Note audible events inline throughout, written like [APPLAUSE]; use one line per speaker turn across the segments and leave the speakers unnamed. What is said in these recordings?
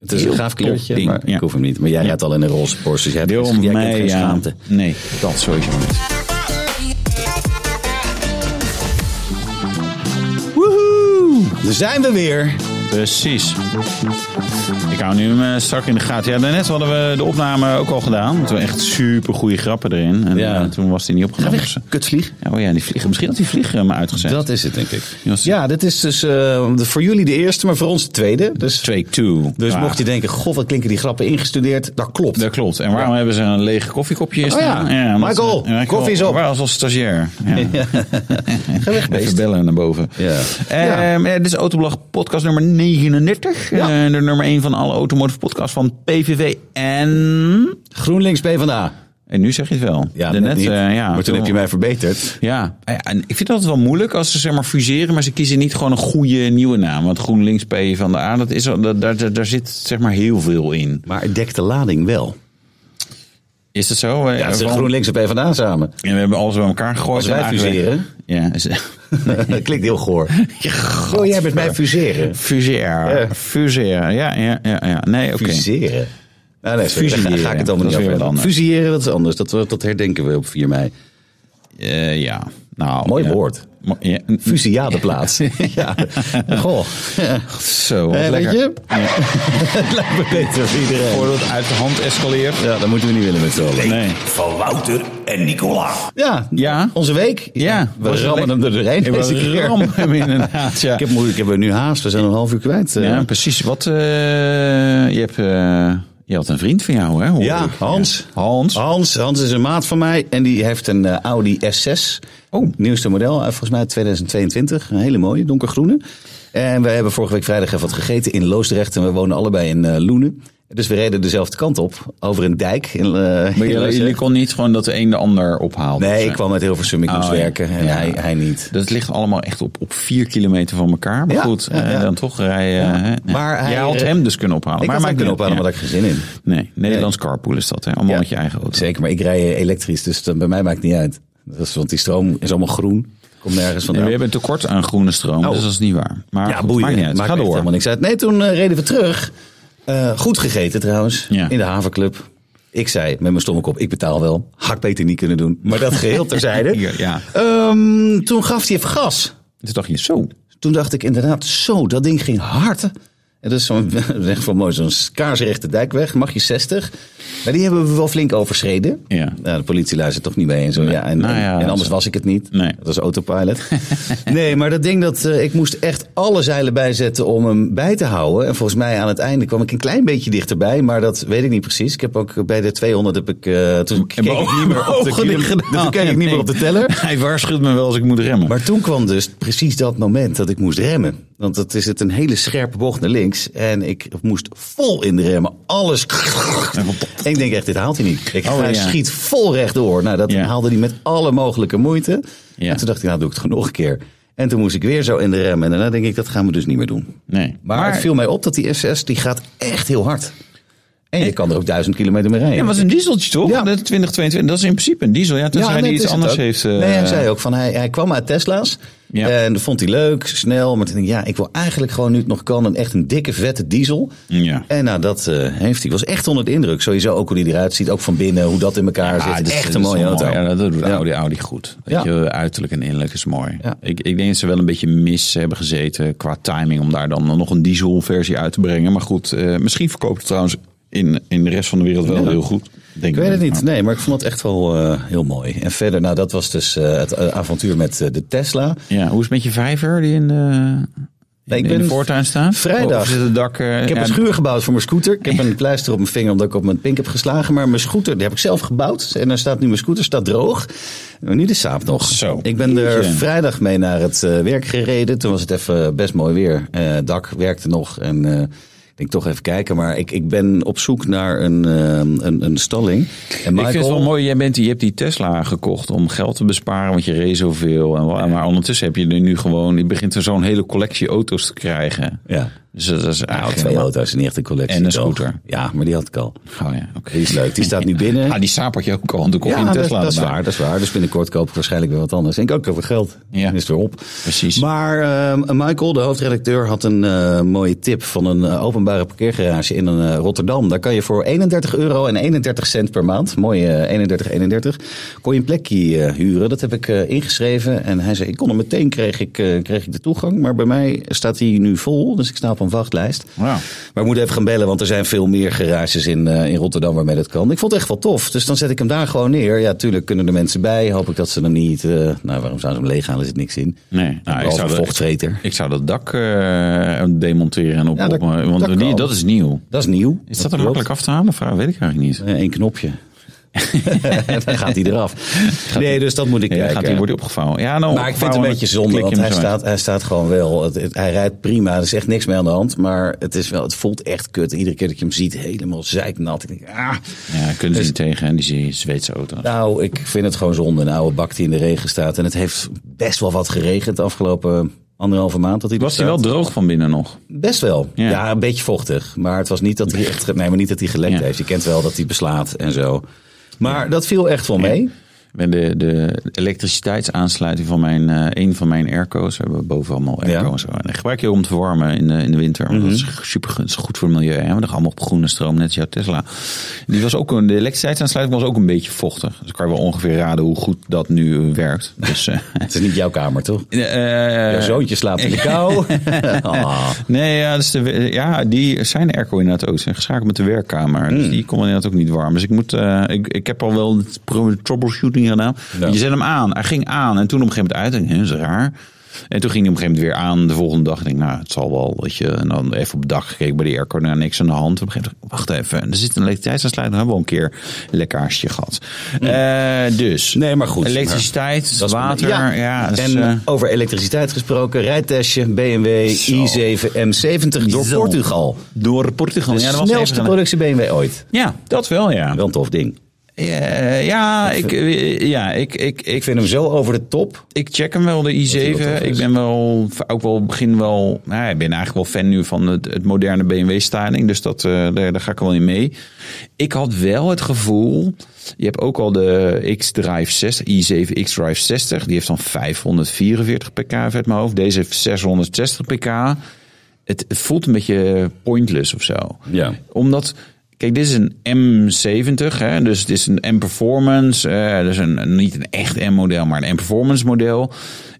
Het is een gaaf kleurtje,
ding,
maar
ja.
ik hoef hem niet. Maar jij gaat al in een roze Porsche, dus jij, hebt
Wil
geen- jij kent
mij,
geen
ja.
schaamte.
Nee, dat sowieso niet. Woehoe!
Daar zijn we weer.
Precies. Ik hou nu hem eh, strak in de gaten. Ja, daarnet hadden we de opname ook al gedaan. Toen echt super goede grappen erin. En
Ja.
eh, toen was die niet opgenomen. Dus, eh,
Kutvlieg.
ja, oh ja, die vliegen. Misschien had die vliegen maar uitgezet.
Dat is het, denk ik.
Yes.
Ja, dit is dus eh, de- voor jullie de eerste, maar voor ons de tweede. Dus,
Take two.
dus
Ja,
mocht je denken, goh, wat klinken die grappen ingestudeerd? Dat klopt.
Dat klopt. En waarom hebben ze een lege koffiekopje hier
Oh ja.
staan? omdat
Michael,
ze- eh,
koffie is op.
Waar was als stagiair?
[LAUGHS]
Ja.
Ga weg, beest.
[LAUGHS] Even bellen naar boven.
Ja.
Ehm, eh, dit is Autoblog podcast nummer 39.
Ja.
Eh, de nummer 1 van alle automotive podcasts van PVV en...
GroenLinks PvdA.
En nu zeg je het wel.
Ja,
Daarnet,
net niet.
eh, ja,
maar toen heb je mij verbeterd.
Ja, eh, en ik vind dat wel moeilijk als ze zeg maar fuseren, maar ze kiezen niet gewoon een goede nieuwe naam. Want GroenLinks P van de A, dat is, al- dat, daar, daar, daar zit zeg maar heel veel in.
Maar het dekt de lading wel.
Is dat zo? Eh,
Ja, het is
gewoon-
GroenLinks en PvdA
[LAUGHS]
samen.
en we hebben alles bij elkaar gegooid.
Als wij
en eigenlijk-
fuseren?
Ja, is-
dat klinkt heel goor.
[LAUGHS] Ja,
Oh, jij bent mij fuseren.
fuseren.
Ja.
Fuseren, ja, ja, ja. ja. Nee, oké.
Fuseren. Ah, nee, sorry, daar ga-
Fusilleren.
ga ik het allemaal
Dat
niet
is weer
over.
wat
hebben.
anders.
Fusilleren, dat is anders. Dat, eh, dat herdenken we op 4 mei.
Eh, ja, nou.
Mooi
ja.
woord.
Mo- ja. [LAUGHS]
Fusiadeplaats. [LAUGHS] ja. Goh.
Zo, wat
Eh, weet
lekker.
je? het lijkt me beter voor iedereen.
Voordat het uit de hand escaleert.
Ja, dat moeten we niet willen met z'n allen.
Nee.
van Wouter en Nicola.
Ja,
Ja.
onze week.
Ja,
we
was
rammen
lekker.
hem er doorheen
Ik
deze keer.
ram hem inderdaad, ja.
Ik
[LAUGHS]
heb, moeilijk, ik heb nu haast, we zijn nog een half uur kwijt. eh.
Ja, precies. Wat, eh, je, hebt, eh, je had een vriend van jou, hè? hoor
Ja,
ik.
Hans.
Ja. Hans. Oh,
Hans, Hans is een maat van mij en die heeft een eh, Audi S6.
Oh.
Nieuwste model, eh, volgens mij uit 2022. Een hele mooie, donkergroene. En we hebben vorige week vrijdag even wat gegeten in Loosdrecht en we wonen allebei in eh, Loenen. Dus we reden dezelfde kant op, over een dijk in, eh, in
Maar jullie,
Loosdrecht.
jullie kon niet gewoon dat de een de ander ophaalt?
Nee,
Zo.
ik kwam uit Hilversum, ik moest
Oh, ja.
werken en
Ja.
hij, hij niet.
Dat ligt allemaal echt op, op vier kilometer van elkaar. Maar
Ja,
goed,
ja,
eh,
ja.
dan toch rijden. hè? Ja.
Maar hij,
Jij had
eh,
hem dus kunnen ophalen.
ik
maar
had hem
maakt
kunnen
niet uit.
ophalen, maar daar
Ja.
had ik geen zin in.
Nee, Nederlands carpool is dat. Hè? Allemaal
Ja.
met je eigen auto.
Zeker, maar ik rij elektrisch, dus dat, bij mij maakt het niet uit. Dat is, want die stroom is allemaal groen, komt nergens
En
vandaan.
we hebben een tekort aan groene stroom,
Oh.
dus dat is niet waar. Maar
Ja,
goed,
boeien.
maakt niet uit.
Maakt
Ga
echt
door.
Helemaal niks uit. Nee, toen eh, reden we terug. Eh, goed gegeten trouwens.
Ja.
In de havenclub. Ik zei met mijn stomme kop, ik betaal wel. Had ik beter niet kunnen doen. Maar dat
[LAUGHS]
geheel terzijde.
Hier, ja.
Ehm, toen gaf hij even gas.
Toen dacht je,
[LAUGHS]
zo.
Toen dacht ik inderdaad, zo, dat ding ging hard. En dat is zo'n, [LAUGHS] echt wel mooi, zo'n kaarsrechte dijkweg, mag je 60. Maar die hebben we wel flink overschreden.
Ja.
Nou, de politie luistert toch niet mee en zo. Ja, en,
nou
en-
ja,
en
dat
anders
is-
was ik het niet.
Nee.
Dat was
[LAUGHS]
autopilot. nee, maar dat ding dat eh, ik moest echt alle zeilen bijzetten om hem bij te houden. En volgens mij aan het einde kwam ik een klein beetje dichterbij, maar dat weet ik niet precies. Ik heb ook eh, bij de 200 heb ik, eh, toen keek ik niet meer op de,
Ogen dicht
kilo-
gedaan.
toen keek ik niet meer op de
Nee.
teller.
Hij waarschuwt me wel als ik moet remmen.
Maar toen kwam dus precies dat moment dat ik moest remmen. Want dat is het een hele scherpe bocht naar links. En ik moest vol in de remmen.
[LAUGHS]
Alles. En ik denk echt, dit haalt hij niet. Ik
Oh,
hij
ja.
schiet vol rechtdoor. Nou, dat
Ja.
haalde hij met alle mogelijke moeite.
Ja.
En toen dacht ik, nou doe ik het gewoon nog een keer. En toen moest ik weer zo in de remmen. En daarna denk ik, dat gaan we dus niet meer doen.
nee.
Maar, het viel mij op dat die SS, die gaat echt heel hard. En je kan er ook duizend kilometer mee rijden.
Ja, maar het was een dieseltje toch?
Ja.
Ja. 2022, dat is in principe een diesel. Ja, tenzij
nee,
hij
dat
iets
is het
anders
ook.
heeft... eh,
nee, hij zei ook van hij, hij kwam uit Tesla's. eh,
Ja.
En dat vond hij leuk, snel. Maar toen denk ik, ja, ik wil eigenlijk gewoon nu het nog kan. Een echt een dikke, vette diesel.
Ja.
En nou, dat eh, heeft hij. Ik was echt onder de indruk. Sowieso ook hoe hij eruit ziet. Ook van binnen, hoe dat in elkaar
Ah,
zit.
dat is-
echt
dat
een
is
mooie
wel
auto.
mooi. Ja, dat doet oh,
Ja.
Audi, Audi goed. Weet
Ja.
je, uiterlijk en innerlijk is mooi.
Ja.
Ik, ik denk dat ze wel een beetje mis hebben gezeten qua timing... om daar dan nog een dieselversie uit te brengen. Maar goed, eh, misschien verkoopt het trouwens in, in de rest van de wereld wel
Ja.
heel goed. Denk
Ik weet het niet.
Maar-
Nee, maar ik vond het echt wel eh, heel mooi. En verder, nou, dat was dus eh, het eh, avontuur met eh, de Tesla.
Ja, hoe is het met je vijver die in de,
Nee,
in,
ik ben
in de voortuin staat?
vrijdag-
Of zit het dak... eh,
Ik heb
ja,
een schuur gebouwd voor mijn scooter. Ik heb een pleister op mijn vinger omdat ik op mijn pink heb geslagen. Maar mijn scooter, die heb ik zelf gebouwd. En daar staat nu mijn scooter, staat droog. Maar nu de saap nog.
Zo.
Ik ben er
Jeetje.
vrijdag mee naar het eh, werk gereden. Toen was het even best mooi weer. Eh, Het dak werkte nog en... eh, ik denk toch even kijken, maar ik, ik ben op zoek naar een, eh, een, een stalling. En
Ik vind het wel mooi, jij bent, die- je hebt die Tesla gekocht om geld te besparen, want je reed zoveel. En, wel- maar ondertussen heb je er nu gewoon, je begint er zo'n hele collectie auto's te krijgen.
Ja.
Dus dat is
Nou,
eigenlijk...
twee auto's in echt een collectie.
En een
toch?
scooter.
Ja, maar die had ik al.
Oh ja, oké.
Die is leuk. Die
[LAUGHS]
staat nu binnen.
Ah, die saap had je ook al, want toen kon je
ja,
een
dat,
Tesla
dat is
erbij.
waar, dat is waar. Dus binnenkort koop ik waarschijnlijk weer wat anders. En ik ook over geld.
Ja.
Dan is het weer op.
Precies.
Maar ehm, Michael, de hoofdredacteur, had een eh, mooie tip van een eh, openbare parkeergarage in een, eh, Rotterdam. Daar kan je voor 31 euro en 31 cent per maand, mooi eh, 31, 31, kon je een plekje eh, huren. Dat heb ik eh, ingeschreven en hij zei, ik kon hem meteen, kreeg ik, eh, kreeg ik de toegang. Maar bij mij staat hij nu vol, dus ik sta op een wachtlijst.
Wauw.
Maar we moeten even gaan bellen, want er zijn veel meer garages in, eh, in Rotterdam waarmee dat kan. Ik vond het echt wel tof. Dus dan zet ik hem daar gewoon neer. Ja, tuurlijk kunnen er mensen bij. Hoop ik dat ze hem niet. eh, nou, waarom zouden ze hem leeg halen? Er zit niks in.
Nee, nou, ik
Behalve
zou,
een
dat,
vochtvreter.
ik zou dat dak eh, demonteren en op,
Ja, dat-
op- want
dat
die-
kan.
dat, is nieuw.
Dat is nieuw.
Is dat, er makkelijk af te halen? Vraag weet ik eigenlijk niet.
Eén
[LAUGHS]
knopje. dan gaat hij eraf. Nee, dus dat moet ik
Ja,
kijken.
gaat die worden opgevouwen? Ja, nou,
Maar ik vind het een
opgevouwen,
beetje
dan
zonde,
klik je
want hij
hem zo uit.
staat, hij staat gewoon wel. Het, het- hij rijdt prima, er is echt niks mee aan de hand. Maar het, is wel, het voelt echt kut. Iedere keer dat je hem ziet, helemaal zeiknat. Ik denk, ah.
Ja, kunnen ze niet tegen, hè, die zie- Zweedse auto.
Nou, ik vind het gewoon zonde. Een oude bak die in de regen staat. En het heeft best wel wat geregend de afgelopen anderhalve maand. Dat hij er
Was die wel
staat.
droog van binnen nog?
Best wel. Ja.
Ja.
een beetje vochtig. Maar het was niet dat hij echt. ge- Nee, maar niet dat hij gelekt
Ja.
heeft. Je kent wel dat hij beslaat en zo. Maar dat viel echt wel mee.
Met de, de elektriciteitsaansluiting van mijn, eh, een van mijn airco's. We hebben boven allemaal airco
Ja.
en zo. En die gebruik je om te verwarmen in de, in de winter. Want dat is super gun- is goed voor het milieu. Hè? We dachten allemaal op groene stroom, net als jouw Tesla. Die was ook, een- de elektriciteitsaansluiting was ook een beetje vochtig. Dus kan je wel ongeveer raden hoe goed dat nu eh, werkt. Dus, eh, [LAUGHS]
Het is niet jouw kamer, toch?
eh,
Jouw zoontje slaapt
[LAUGHS]
in de kou. [LAUGHS] Ah.
Nee, ja, dus de, ja, die zijn airco inderdaad ook. Ze zijn geschakeld met de werkkamer. Dus die kon inderdaad ook niet warm. Dus ik, moet, eh, ik, ik heb al wel het pro- troubleshooting gedaan.
Ja.
Je zet hem aan. Hij ging aan. En toen op een gegeven moment uit. En dat is raar. En toen ging hij op een gegeven moment weer aan de volgende dag. Ik denk, nou, het zal wel. Weet je. En dan even op het dak gekeken bij die airco. Nou, niks aan de hand. Op een gegeven moment, dacht ik, wacht even. En er zit een elektriciteitsaansluiting. Dan hebben we al een keer een lekkaartje gehad. Eh, dus.
Nee, maar goed.
Elektriciteit,
Dat is-
water. Ja. dus,
en
eh,
over elektriciteit gesproken, rijtestje BMW
Zo.
i7 M70 door
Zo.
Portugal.
door Portugal.
De
Ja, dat was even
snelste
een-
productie BMW ooit.
Ja, dat wel, ja.
Wel een tof ding.
Ja, Eh, ja, ik, eh, ja ik, ik,
Ik
ik,
vind hem zo over de top.
ik check hem wel, de i7.
Dat hij wel tof
Ik
is.
ben wel, ook wel, begin wel, nou, ik ben eigenlijk wel fan nu van het, het moderne BMW-styling. Dus dat, eh, daar, daar ga ik wel in mee. Ik had wel het gevoel, je hebt ook al de X-Drive 60, i7 X-Drive 60. Die heeft dan 544 pk even uit mijn hoofd. Deze heeft 660 pk. Het, het voelt een beetje pointless of zo
Ja.
omdat, kijk, dit is een M70, hè, dus dit is een M-Performance. eh, dus een, een- niet een echt M-model, maar een M-Performance model.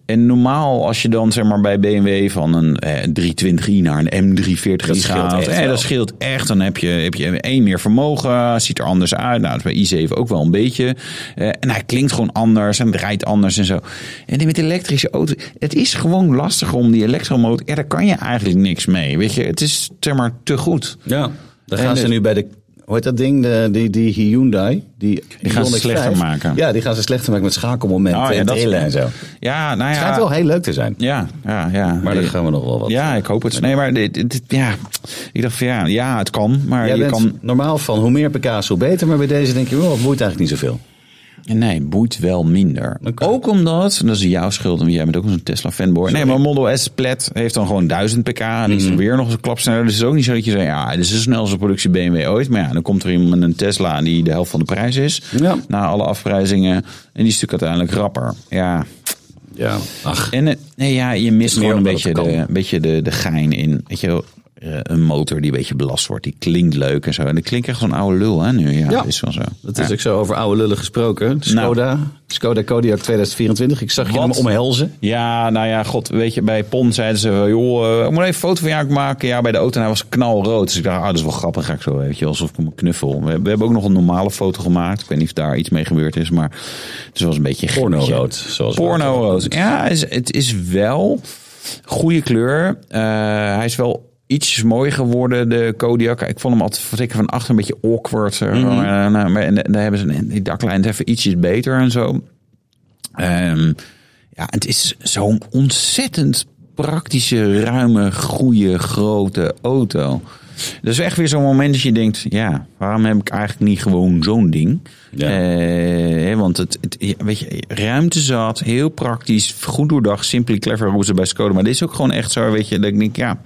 En normaal, als je dan zeg maar bij BMW van een eh, 320i naar een
Dat
M340i
scheelt
gaat,
echt
eh,
wel.
dat scheelt echt. Dan heb je, heb je één meer vermogen, ziet er anders uit. Nou, dat is bij i7 ook wel een beetje. Eh, en hij klinkt gewoon anders en het rijdt anders en zo. En met elektrische auto, het is gewoon lastig om die elektromotor, ja, daar kan je eigenlijk niks mee. Weet je, het is zeg maar te goed.
Ja. Dan
En
gaan ze
dus-
nu bij de. Hoe heet dat ding? De, die, die Hyundai. Die,
Die gaan ze
Ioniq
slechter
5.
maken.
Ja, die gaan ze slechter maken met schakelmomenten
Oh, ja,
en
dat-
trillen en zo. Het
Ja, nou ja.
schijnt wel heel leuk te zijn.
Ja, ja, ja.
Maar daar gaan we nog wel wat. eh,
Ja, ik hoop het. Nee, maar dit, dit- dit- ja. ik dacht van ja, ja, het kan. Maar
Jij
je
bent
kan...
normaal van hoe meer pk's, hoe beter. Maar bij deze denk je, oh, het boeit eigenlijk niet zoveel.
Nee, boeit wel minder.
Oké.
Ook omdat, en dat is jouw schuld, want jij bent ook zo'n Tesla fanboy. Nee, maar Model S Plat heeft dan gewoon 1000 pk. En
Mhm.
die is weer nog eens een klap sneller. Dus het is ook niet zo dat je zegt, ja, dit is de snelste productie BMW ooit. Maar ja, dan komt er iemand met een Tesla die de helft van de prijs is.
Ja.
Na alle afprijzingen. En die is natuurlijk uiteindelijk rapper. Ja,
Ja. Ach.
En eh, nee, ja, je mist
meer
gewoon een
omdat
beetje,
het
de,
kan.
een beetje de, de gein in. Weet je wel, eh, een motor die een beetje belast wordt, die klinkt leuk en zo. En dat klinkt echt zo'n oude lul, hè, nu. Ja,
Ja.
dat is wel zo.
Dat is
Ja.
ook zo over oude lullen gesproken. Skoda, Skoda Kodiaq 2024. Ik zag je
Wat?
hem omhelzen.
Ja, nou ja, god, weet je, bij Pon zeiden ze, wel, joh, eh, ik moet even een foto van jou maken. Ja, bij de auto en hij was knalrood. Dus ik dacht, ah, dat is wel grappig, ga ik zo, weet je, alsof ik hem knuffel. We, we hebben ook nog een normale foto gemaakt. Ik weet niet of daar iets mee gebeurd is, maar het was een beetje een grapje.
Porno-rood, zoals we
Porno
altijd
rood. Ja, het is, het is wel goede kleur. Eh, hij is wel iets mooier geworden, de Kodiak. Ik vond hem altijd zeker van achter een beetje awkward. eh, eh, nou, maar en daar hebben ze die daklijn even ietsjes beter en zo. Ehm, ja, het is zo'n ontzettend praktische, ruime, goede, grote auto. Dat is echt weer zo'n moment dat je denkt: ja, waarom heb ik eigenlijk niet gewoon zo'n ding?
Ja.
Eh, want het, het- ja, weet je, ruimte zat, heel praktisch, goed doordacht, simply clever hoe ze bij Skoda. Maar dit is ook gewoon echt zo, weet je, dat ik denk: ja,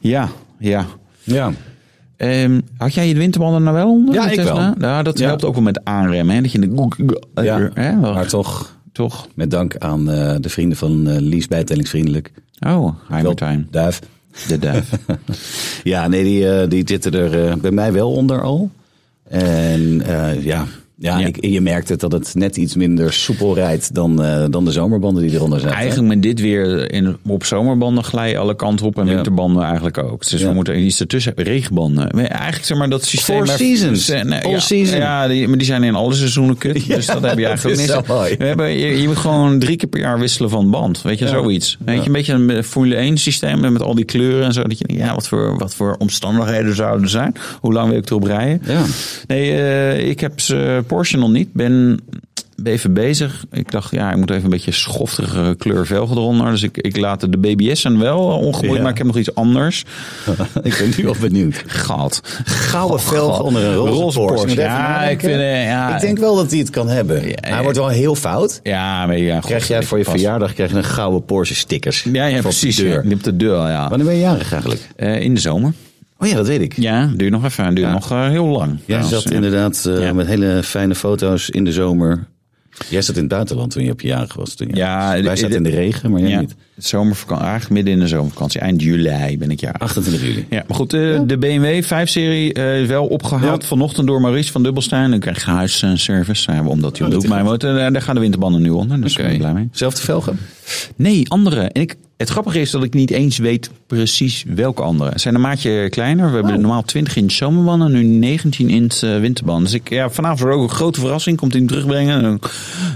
Ja, ja.
Ja.
Ehm, had jij je winterbanden nou wel onder?
Ja,
de
ik
Tesla?
wel.
Nou, dat
Ja.
helpt ook wel met aanremmen. Hè? Dat je de...
Ja.
Hè, wel-
Maar toch,
toch?
met dank aan eh, de vrienden van eh Lies Bijtellingsvriendelijk.
Oh, Heimertijn.
Duif.
De [LAUGHS] duif.
Ja, nee, die, eh, die zitten er eh, bij mij wel onder al. En eh, ja, ja,
Ja.
Ik, je merkt het dat het net iets minder soepel rijdt dan, eh, dan de zomerbanden die eronder zaten.
Eigenlijk met dit weer in, op zomerbanden glijden alle kanten op en
Ja.
winterbanden eigenlijk ook. Dus
Ja.
we moeten iets ertussen hebben. Regenbanden. We- Eigenlijk zeg maar dat systeem.
Four
waar-
seasons.
Eh, nee,
All
ja,
season.
Ja, die, maar die zijn in alle
[LAUGHS]
seizoenen kut. dus dat heb je
dat
eigenlijk
is
ook
wel mooi.
niet. We hebben, je, je moet gewoon drie keer per jaar wisselen van band. Weet je, zoiets. Weet je, een beetje een eh, Formule 1 systeem met al die kleuren en zo. Dat je, denkt, ja, wat voor, wat voor omstandigheden zouden er zijn? Hoe lang wil ik erop rijden?
Ja.
Nee, eh, ik heb ze Porsche nog niet. Ben, ben even bezig. Ik dacht, ja, ik moet even een beetje schoftige kleur velgen eronder. Dus ik, ik laat de BBS en wel eh, ongemoeid,
Ja.
maar ik heb nog iets anders.
[LAUGHS] ik ben nu al benieuwd.
Gehad.
Gouden velg
God.
onder een roze,
Roze
Porsche.
Porsche.
Moet even
Ja,
nadenken.
ik vind, eh, ja.
Ik denk wel dat hij het kan hebben. Hij
ja.
wordt wel heel fout.
Ja, maar ja,
Krijg jij voor je verjaardag krijg je een gouden Porsche stickers.
Ja,
Voor
ja
op de
precies.
deur.
ja. Die op de deur, ja.
Wanneer ben je jarig eigenlijk?
Eh, in de zomer.
Oh ja, dat weet ik.
Ja, duurt nog even. Duurt nog eh, heel lang.
Jij
trouwens.
zat inderdaad eh,
Ja.
met hele fijne foto's in de zomer. Jij zat in het buitenland toen je op je jarig was. Toen je-
Ja,
Wij
de-
zaten in de regen, maar jij
ja,
niet.
zomervakantie. Eigenlijk midden in de zomervakantie. Eind juli ben ik jarig.
28 juli.
Ja, maar goed, eh, de BMW 5-serie eh, wel opgehaald vanochtend door Maurice van Dubbelstein. Ik krijg huisservice, uh, omdat
Oh,
hij op
dat
doet. Maar moet, eh, daar gaan de winterbanden nu onder, dus ik ben ik blij mee.
Zelfde velgen?
Nee, andere. En ik, het grappige is dat ik niet eens weet precies welke andere. Het zijn een maatje kleiner. We hebben
Oh.
normaal 20 inch zomerbanden, nu 19 inch eh, winterbanden. Dus ik, ja, vanavond wordt ook een grote verrassing. Komt hij hem terugbrengen. En dan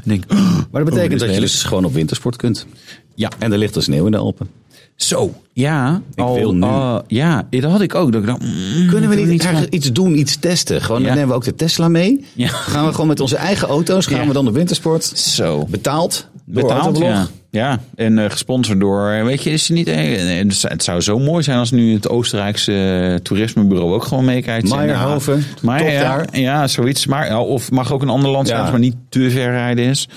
denk ik,
Maar dat
oh, dit
betekent
is
dat je
lelijk.
dus gewoon op wintersport kunt.
Ja.
En er ligt al sneeuw in de Alpen.
Hmm, Zo. Ja.
Ik wil nu.
eh, ja, dat had ik ook. Dat ik dacht, mm,
Kunnen we niet
gaan-
ergens iets doen, iets testen? Gewoon,
Ja.
dan nemen we ook de Tesla mee.
Ja.
Gaan we gewoon met onze eigen auto's, gaan
Ja.
we dan op wintersport.
Zo.
Betaald door
Betaald,
Autoblog.
ja. Ja, en eh, gesponsord door, eh, weet je, is het niet... eh, eh, Het zou- het zou zo mooi zijn als nu het Oostenrijkse eh, toerismebureau ook gewoon meekijkt.
Meijerhoven,
Ja, maar
top
ja,
daar.
Ja, zoiets. Maar, ja, of mag ook een ander land zijn
Ja.
als het maar niet te ver rijden is.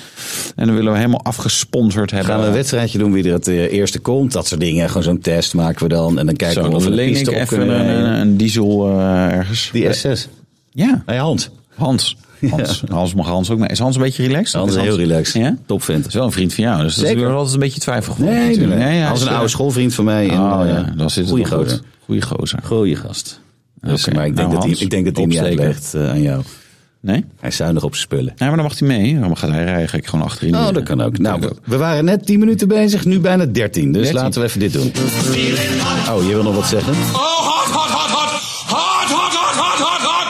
En dan willen we helemaal afgesponsord hebben.
Gaan we een wedstrijdje doen wie er het eh, eerste komt. Dat soort dingen. Gewoon zo'n test maken we dan. En dan kijken
Zo,
we of we
dan
de
leen ik
piste op
even
kunnen
een,
rijden.
een, een diesel eh, ergens.
Die S6.
Ja,
Bij Hans.
Hans. Hans. Hans mag Hans ook mee. Is Hans een beetje relaxed?
Hans is heel relaxed.
Ja?
Top
Dat is wel een vriend van jou, dus
Zeker.
dat is weer altijd een beetje twijfelgevoel.
Nee, nee,
natuurlijk.
nee.
Nee, ja,
Hans is een
is-
oude schoolvriend van mij. en,
Oh
eh,
ja, dan zit het
goeie
nog
gozer.
goed. Goeie gozer.
Goeie gast. Dus,
Oké.
Maar ik denk
Nou,
dat hij-
Hans,
ik denk dat hij hem niet
opsteken.
uitlegt eh, aan jou.
Nee?
Hij is zuinig op zijn spullen.
Ja, maar dan mag hij mee. Dan gaat hij rijden. Ga ik gewoon achterin.
Oh,
zitten.
dat kan ook. Nou,
Dat
we- we waren net 10 minuten bezig, nu bijna 13. Dus
13.
laten we even dit doen. Oh, je wil nog wat zeggen?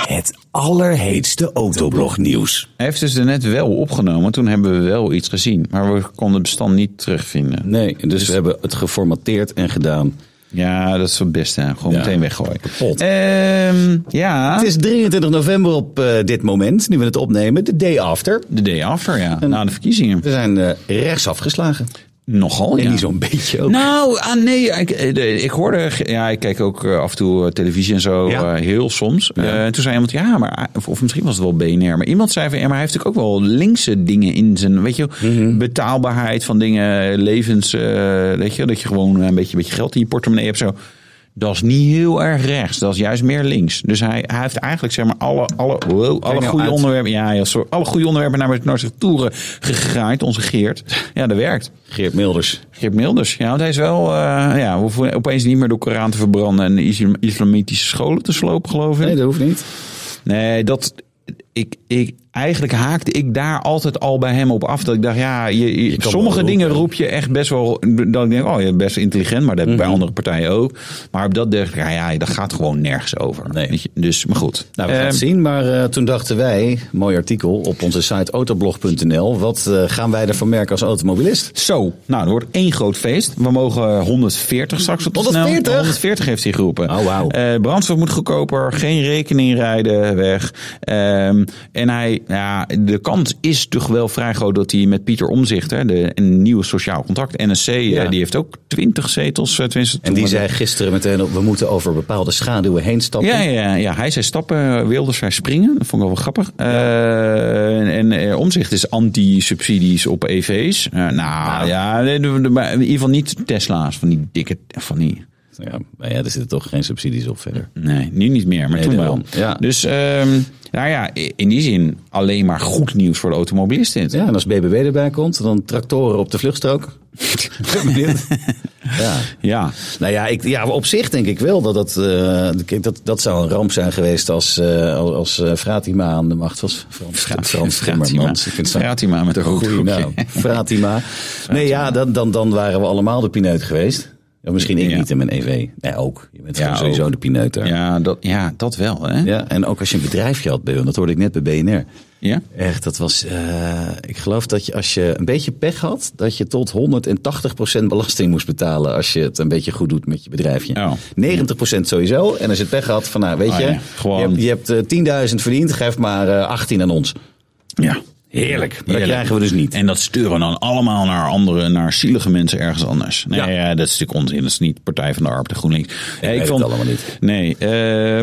Het allerheetste autoblognieuws.
Hij heeft dus er net wel opgenomen. Toen hebben we wel iets gezien. Maar we konden het bestand niet terugvinden.
Nee, dus, we hebben het geformateerd en gedaan.
Ja, dat is het beste. hè. Gewoon
Ja.
meteen weggooien.
Kapot.
Ehm, ja.
Het is 23 november op eh, dit moment, nu we het opnemen, de day after.
De day after, ja. Na de verkiezingen.
We zijn eh rechts afgeslagen.
Nogal,
En
ja.
niet zo'n beetje ook.
Nou, ah, nee, ik, eh, de- ik hoorde, ja, ik kijk ook eh, af en toe eh, televisie en zo,
Ja.
eh, heel soms. Eh, en toen zei iemand, ja, maar, of, of misschien was het wel BNR, maar iemand zei van, ja, maar hij heeft natuurlijk ook wel linkse dingen in zijn, weet je, wel,
Mhm.
betaalbaarheid van dingen, levens, eh, weet je, wel, dat je gewoon eh, een beetje, beetje geld in je portemonnee hebt, zo. Dat is niet heel erg rechts, dat is juist meer links. Dus hij, hij heeft eigenlijk zeg maar alle, alle, wow, alle
nou
goede
uit.
onderwerpen, ja, ja, sorry, alle goede onderwerpen naar, naar zich toeren gegraaid, onze Geert. Ja, dat werkt.
Geert Milders.
Geert Milders. Ja, want hij is wel. eh, ja, we hoeven opeens niet meer door Koran te verbranden en islam- islamitische scholen te slopen, geloof ik.
Nee,
Nee,
dat hoeft niet.
dat. Ik, ik, eigenlijk haakte ik daar altijd al bij hem op af. Dat ik dacht, ja, je, je-
kan
sommige
wel
dingen
roepen.
roep je echt best wel. Dat ik denk, oh, je bent best intelligent, maar dat heb ik
Mhm.
bij andere partijen ook. Maar op dat dacht ik, ja, ja, dat gaat gewoon nergens over.
Nee.
Weet je, Dus, maar goed.
Nou, we gaan het
Ehm,
zien, maar eh, toen dachten wij, mooi artikel op onze site autoblog.nl, wat eh, gaan wij ervan merken als automobilist?
Zo, nou, het wordt één groot feest. We mogen 140 straks op de
140?
snelweg. 140 heeft hij geroepen.
Oh, wauw.
Eh, brandstof moet goedkoper, geen rekening rijden, weg. Ehm, en hij, ja, de kans is toch wel vrij groot dat hij met Pieter Omzicht, hè, de, een nieuwe sociaal contract, NSC, eh,
Ja.
die heeft ook 20 zetels. eh, Tenminste,
En
toen
die
we-
zei gisteren meteen, op, we moeten over bepaalde schaduwen heen stappen.
ja, ja, ja, hij zei stappen, Wilders zei springen. Dat vond ik wel wel grappig. Eh, en- en eh, omzicht is anti-subsidies op E
Nou.
EV's. Eh, nou ja, nee, de- de- maar in ieder geval niet Tesla's. Van die dikke, van die
Ja, maar ja, er zitten toch geen subsidies op verder.
Nee, nu niet meer, maar
Nee,
toen wel.
daarom. Ja.
Dus ehm, nou ja, i- in die zin alleen maar goed nieuws voor de automobilist dit.
Ja, en als BBW erbij komt, dan tractoren op de vluchtstrook. Ben benieuwd. ja.
Ja,
Nou ja, ik, ja, op zich denk ik wel dat dat, eh, kijk, dat, dat zou een ramp zijn geweest als, eh, als, als eh, Fratima aan de macht was. Frans, Frans
Fratima.
Timmermans. Ik vind het zo'n
Fratima met een goed
goeie naam.
[LAUGHS]
Fratima. Nee, ja, dan, dan, dan waren we allemaal de pineut geweest. Ja, misschien ik
Ja.
niet in mijn EV. Nee, ook. Je bent
Ja,
gewoon sowieso
ook.
de pineut daar. Ja.
Ja, dat, ja, dat wel. Hè? Ja.
en ook als je een bedrijfje had, Beul, dat hoorde ik net bij BNR. Echt, dat was. eh, ik geloof dat je als je een beetje pech had, dat je tot 180% belasting moest betalen als je het een beetje goed doet met je bedrijfje.
Oh.
90% sowieso. En als je het pech had, van nou weet
Oh
je,
ja, gewoon-
je hebt- je hebt, eh, 10.000 verdiend, geef maar eh, 18 aan ons.
Ja. Heerlijk.
Maar dat
Heerlijk.
krijgen we dus niet.
En dat sturen dan allemaal naar andere, naar zielige mensen ergens anders. Nee,
Ja.
ja. dat is natuurlijk onzin. Dat is niet Partij van de Arbeid, de GroenLinks. Ja,
weet het allemaal niet.
Nee, eh,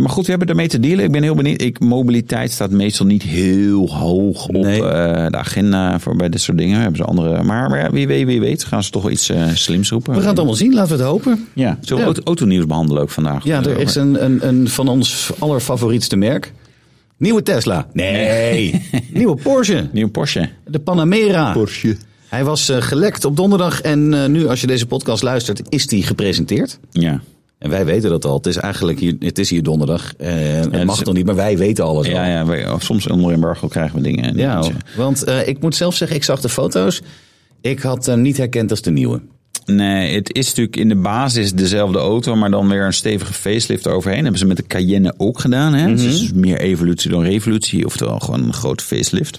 maar goed, we hebben ermee te dealen. Ik ben heel benieuwd. Ik, mobiliteit staat meestal niet heel hoog op
Nee.
eh, de agenda voor bij dit soort dingen. Hebben ze andere. Maar, maar ja, wie weet, wie weet, gaan ze toch iets eh, slims roepen.
We gaan het allemaal zien, laten we het hopen.
Ja, zullen we
Ja.
auto- autonieuws behandelen ook vandaag?
Ja, er is een, een, een van ons allerfavorietste merk. Nieuwe Tesla. Nee. [LAUGHS] Nieuwe Porsche.
Nieuw Porsche.
De Panamera. Hij was eh, gelekt op donderdag en eh, nu als je deze podcast luistert is die gepresenteerd.
Ja.
En wij weten dat al. Het is eigenlijk hier, het is hier donderdag. Eh, het
dus-
mag nog niet, maar wij weten alles al.
Ja, ja we- soms onder embargo krijgen we dingen.
Ja,
Die-
want eh, ik moet zelf zeggen, ik zag de foto's. Ik had hem niet herkend als de nieuwe.
Nee, het is natuurlijk in de basis dezelfde auto, maar dan weer een stevige facelift overheen. hebben ze met de Cayenne ook gedaan. Hè?
Mhm.
Dus het is meer evolutie dan revolutie, oftewel gewoon een grote facelift.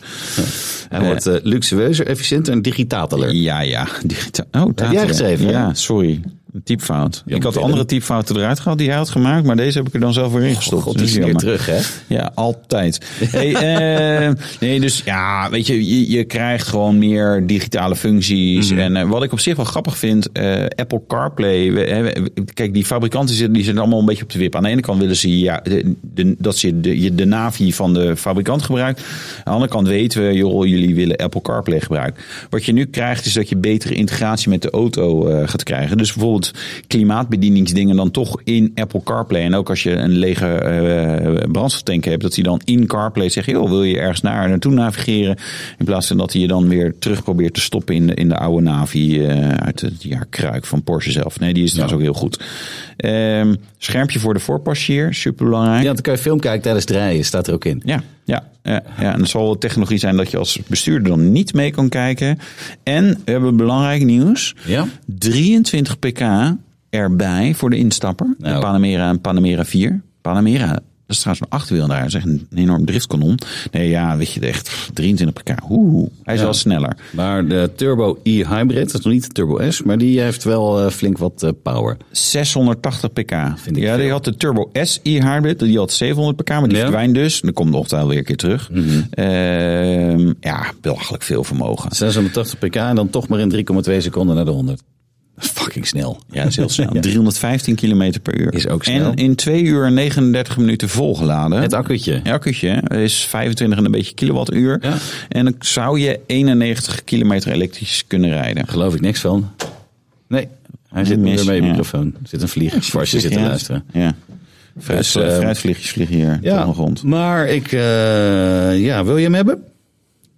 Hij wordt eh, luxueuzer, efficiënter en digitaler.
Ja, ja. Digita- oh, Tateren.
jij geschreven, hè?
Ja, sorry. Een typfout. ik had
Willem.
andere typfouten eruit gehaald die hij had gemaakt, maar deze heb ik er dan zelf weer in gestopt.
God,
Dat
die is
is
weer
jammer.
terug, hè?
Ja, altijd. Hey, [LAUGHS] eh, nee, dus ja, weet je, je, je krijgt gewoon meer digitale functies.
Mhm.
En eh, wat ik op zich wel grappig vind, eh, Apple CarPlay. we- hè, we- kijk, die fabrikanten zitten, die zitten allemaal een beetje op de wip. Aan de ene kant willen ze ja, de, de- dat ze de, je de navi van de fabrikant gebruikt. Aan de andere kant weten we, joh, jullie willen Apple CarPlay gebruiken. Wat je nu krijgt, is dat je betere integratie met de auto eh, gaat krijgen. Dus bijvoorbeeld klimaatbedieningsdingen dan toch in Apple CarPlay. En ook als je een lege eh, brandstoftank hebt, dat hij dan in CarPlay zegt: joh, wil je ergens naar naartoe navigeren? In plaats van dat hij je dan weer terug probeert te stoppen in de, in de oude Navi eh, uit het jaar Kruik van Porsche zelf. Nee, die is trouwens ook heel goed. Ehm, schermpje voor de voorpassagier, super belangrijk.
Ja, dan kan je film kijken tijdens het rijden, staat er ook in.
Ja, ja, ja, ja. En er zal wel technologie zijn dat je als bestuurder dan niet mee kan kijken. En we hebben belangrijk nieuws.
Ja.
23 pk erbij voor de instapper.
Nou.
De Panamera en Panamera 4. Panamera, dat is trouwens een achterwiel daar. Dat is echt een, een enorm driftkanon. Nee, ja, weet je echt. pff, 23 pk. Oeh, hij is wel sneller.
Maar de Turbo e-Hybrid, dat is nog niet de Turbo S, maar die heeft wel eh, flink wat eh, power.
680 pk.
Vind ik
ja, die
veel.
had de Turbo S e-hybrid. Die had 700 pk, maar die
Ja. Mhm.
verdwijnt dus. Dan komt nog wel weer een keer terug. Ehm, ja, belachelijk veel vermogen.
680 pk en dan toch maar in 3,2 seconden naar de 100. Fucking snel.
Ja, dat is
[LAUGHS]
heel snel. 315 km per uur.
Is ook snel.
En in 2 uur en 39 minuten volgeladen.
Het accu'tje.
Ja, accu'tje hè, is 25 en een beetje kilowattuur.
Ja.
En dan zou je 91 kilometer elektrisch kunnen rijden.
Geloof ik niks van. Nee. Hij zit
Mis,
nu weer bij je
ja.
microfoon. Er zit een vlieger als je zit te
Ja.
luisteren.
Ja. Fruit,
Dus, eh,
fruitvliegjes vliegen hier toch nog rond.
maar ik... eh, ja, wil je hem hebben?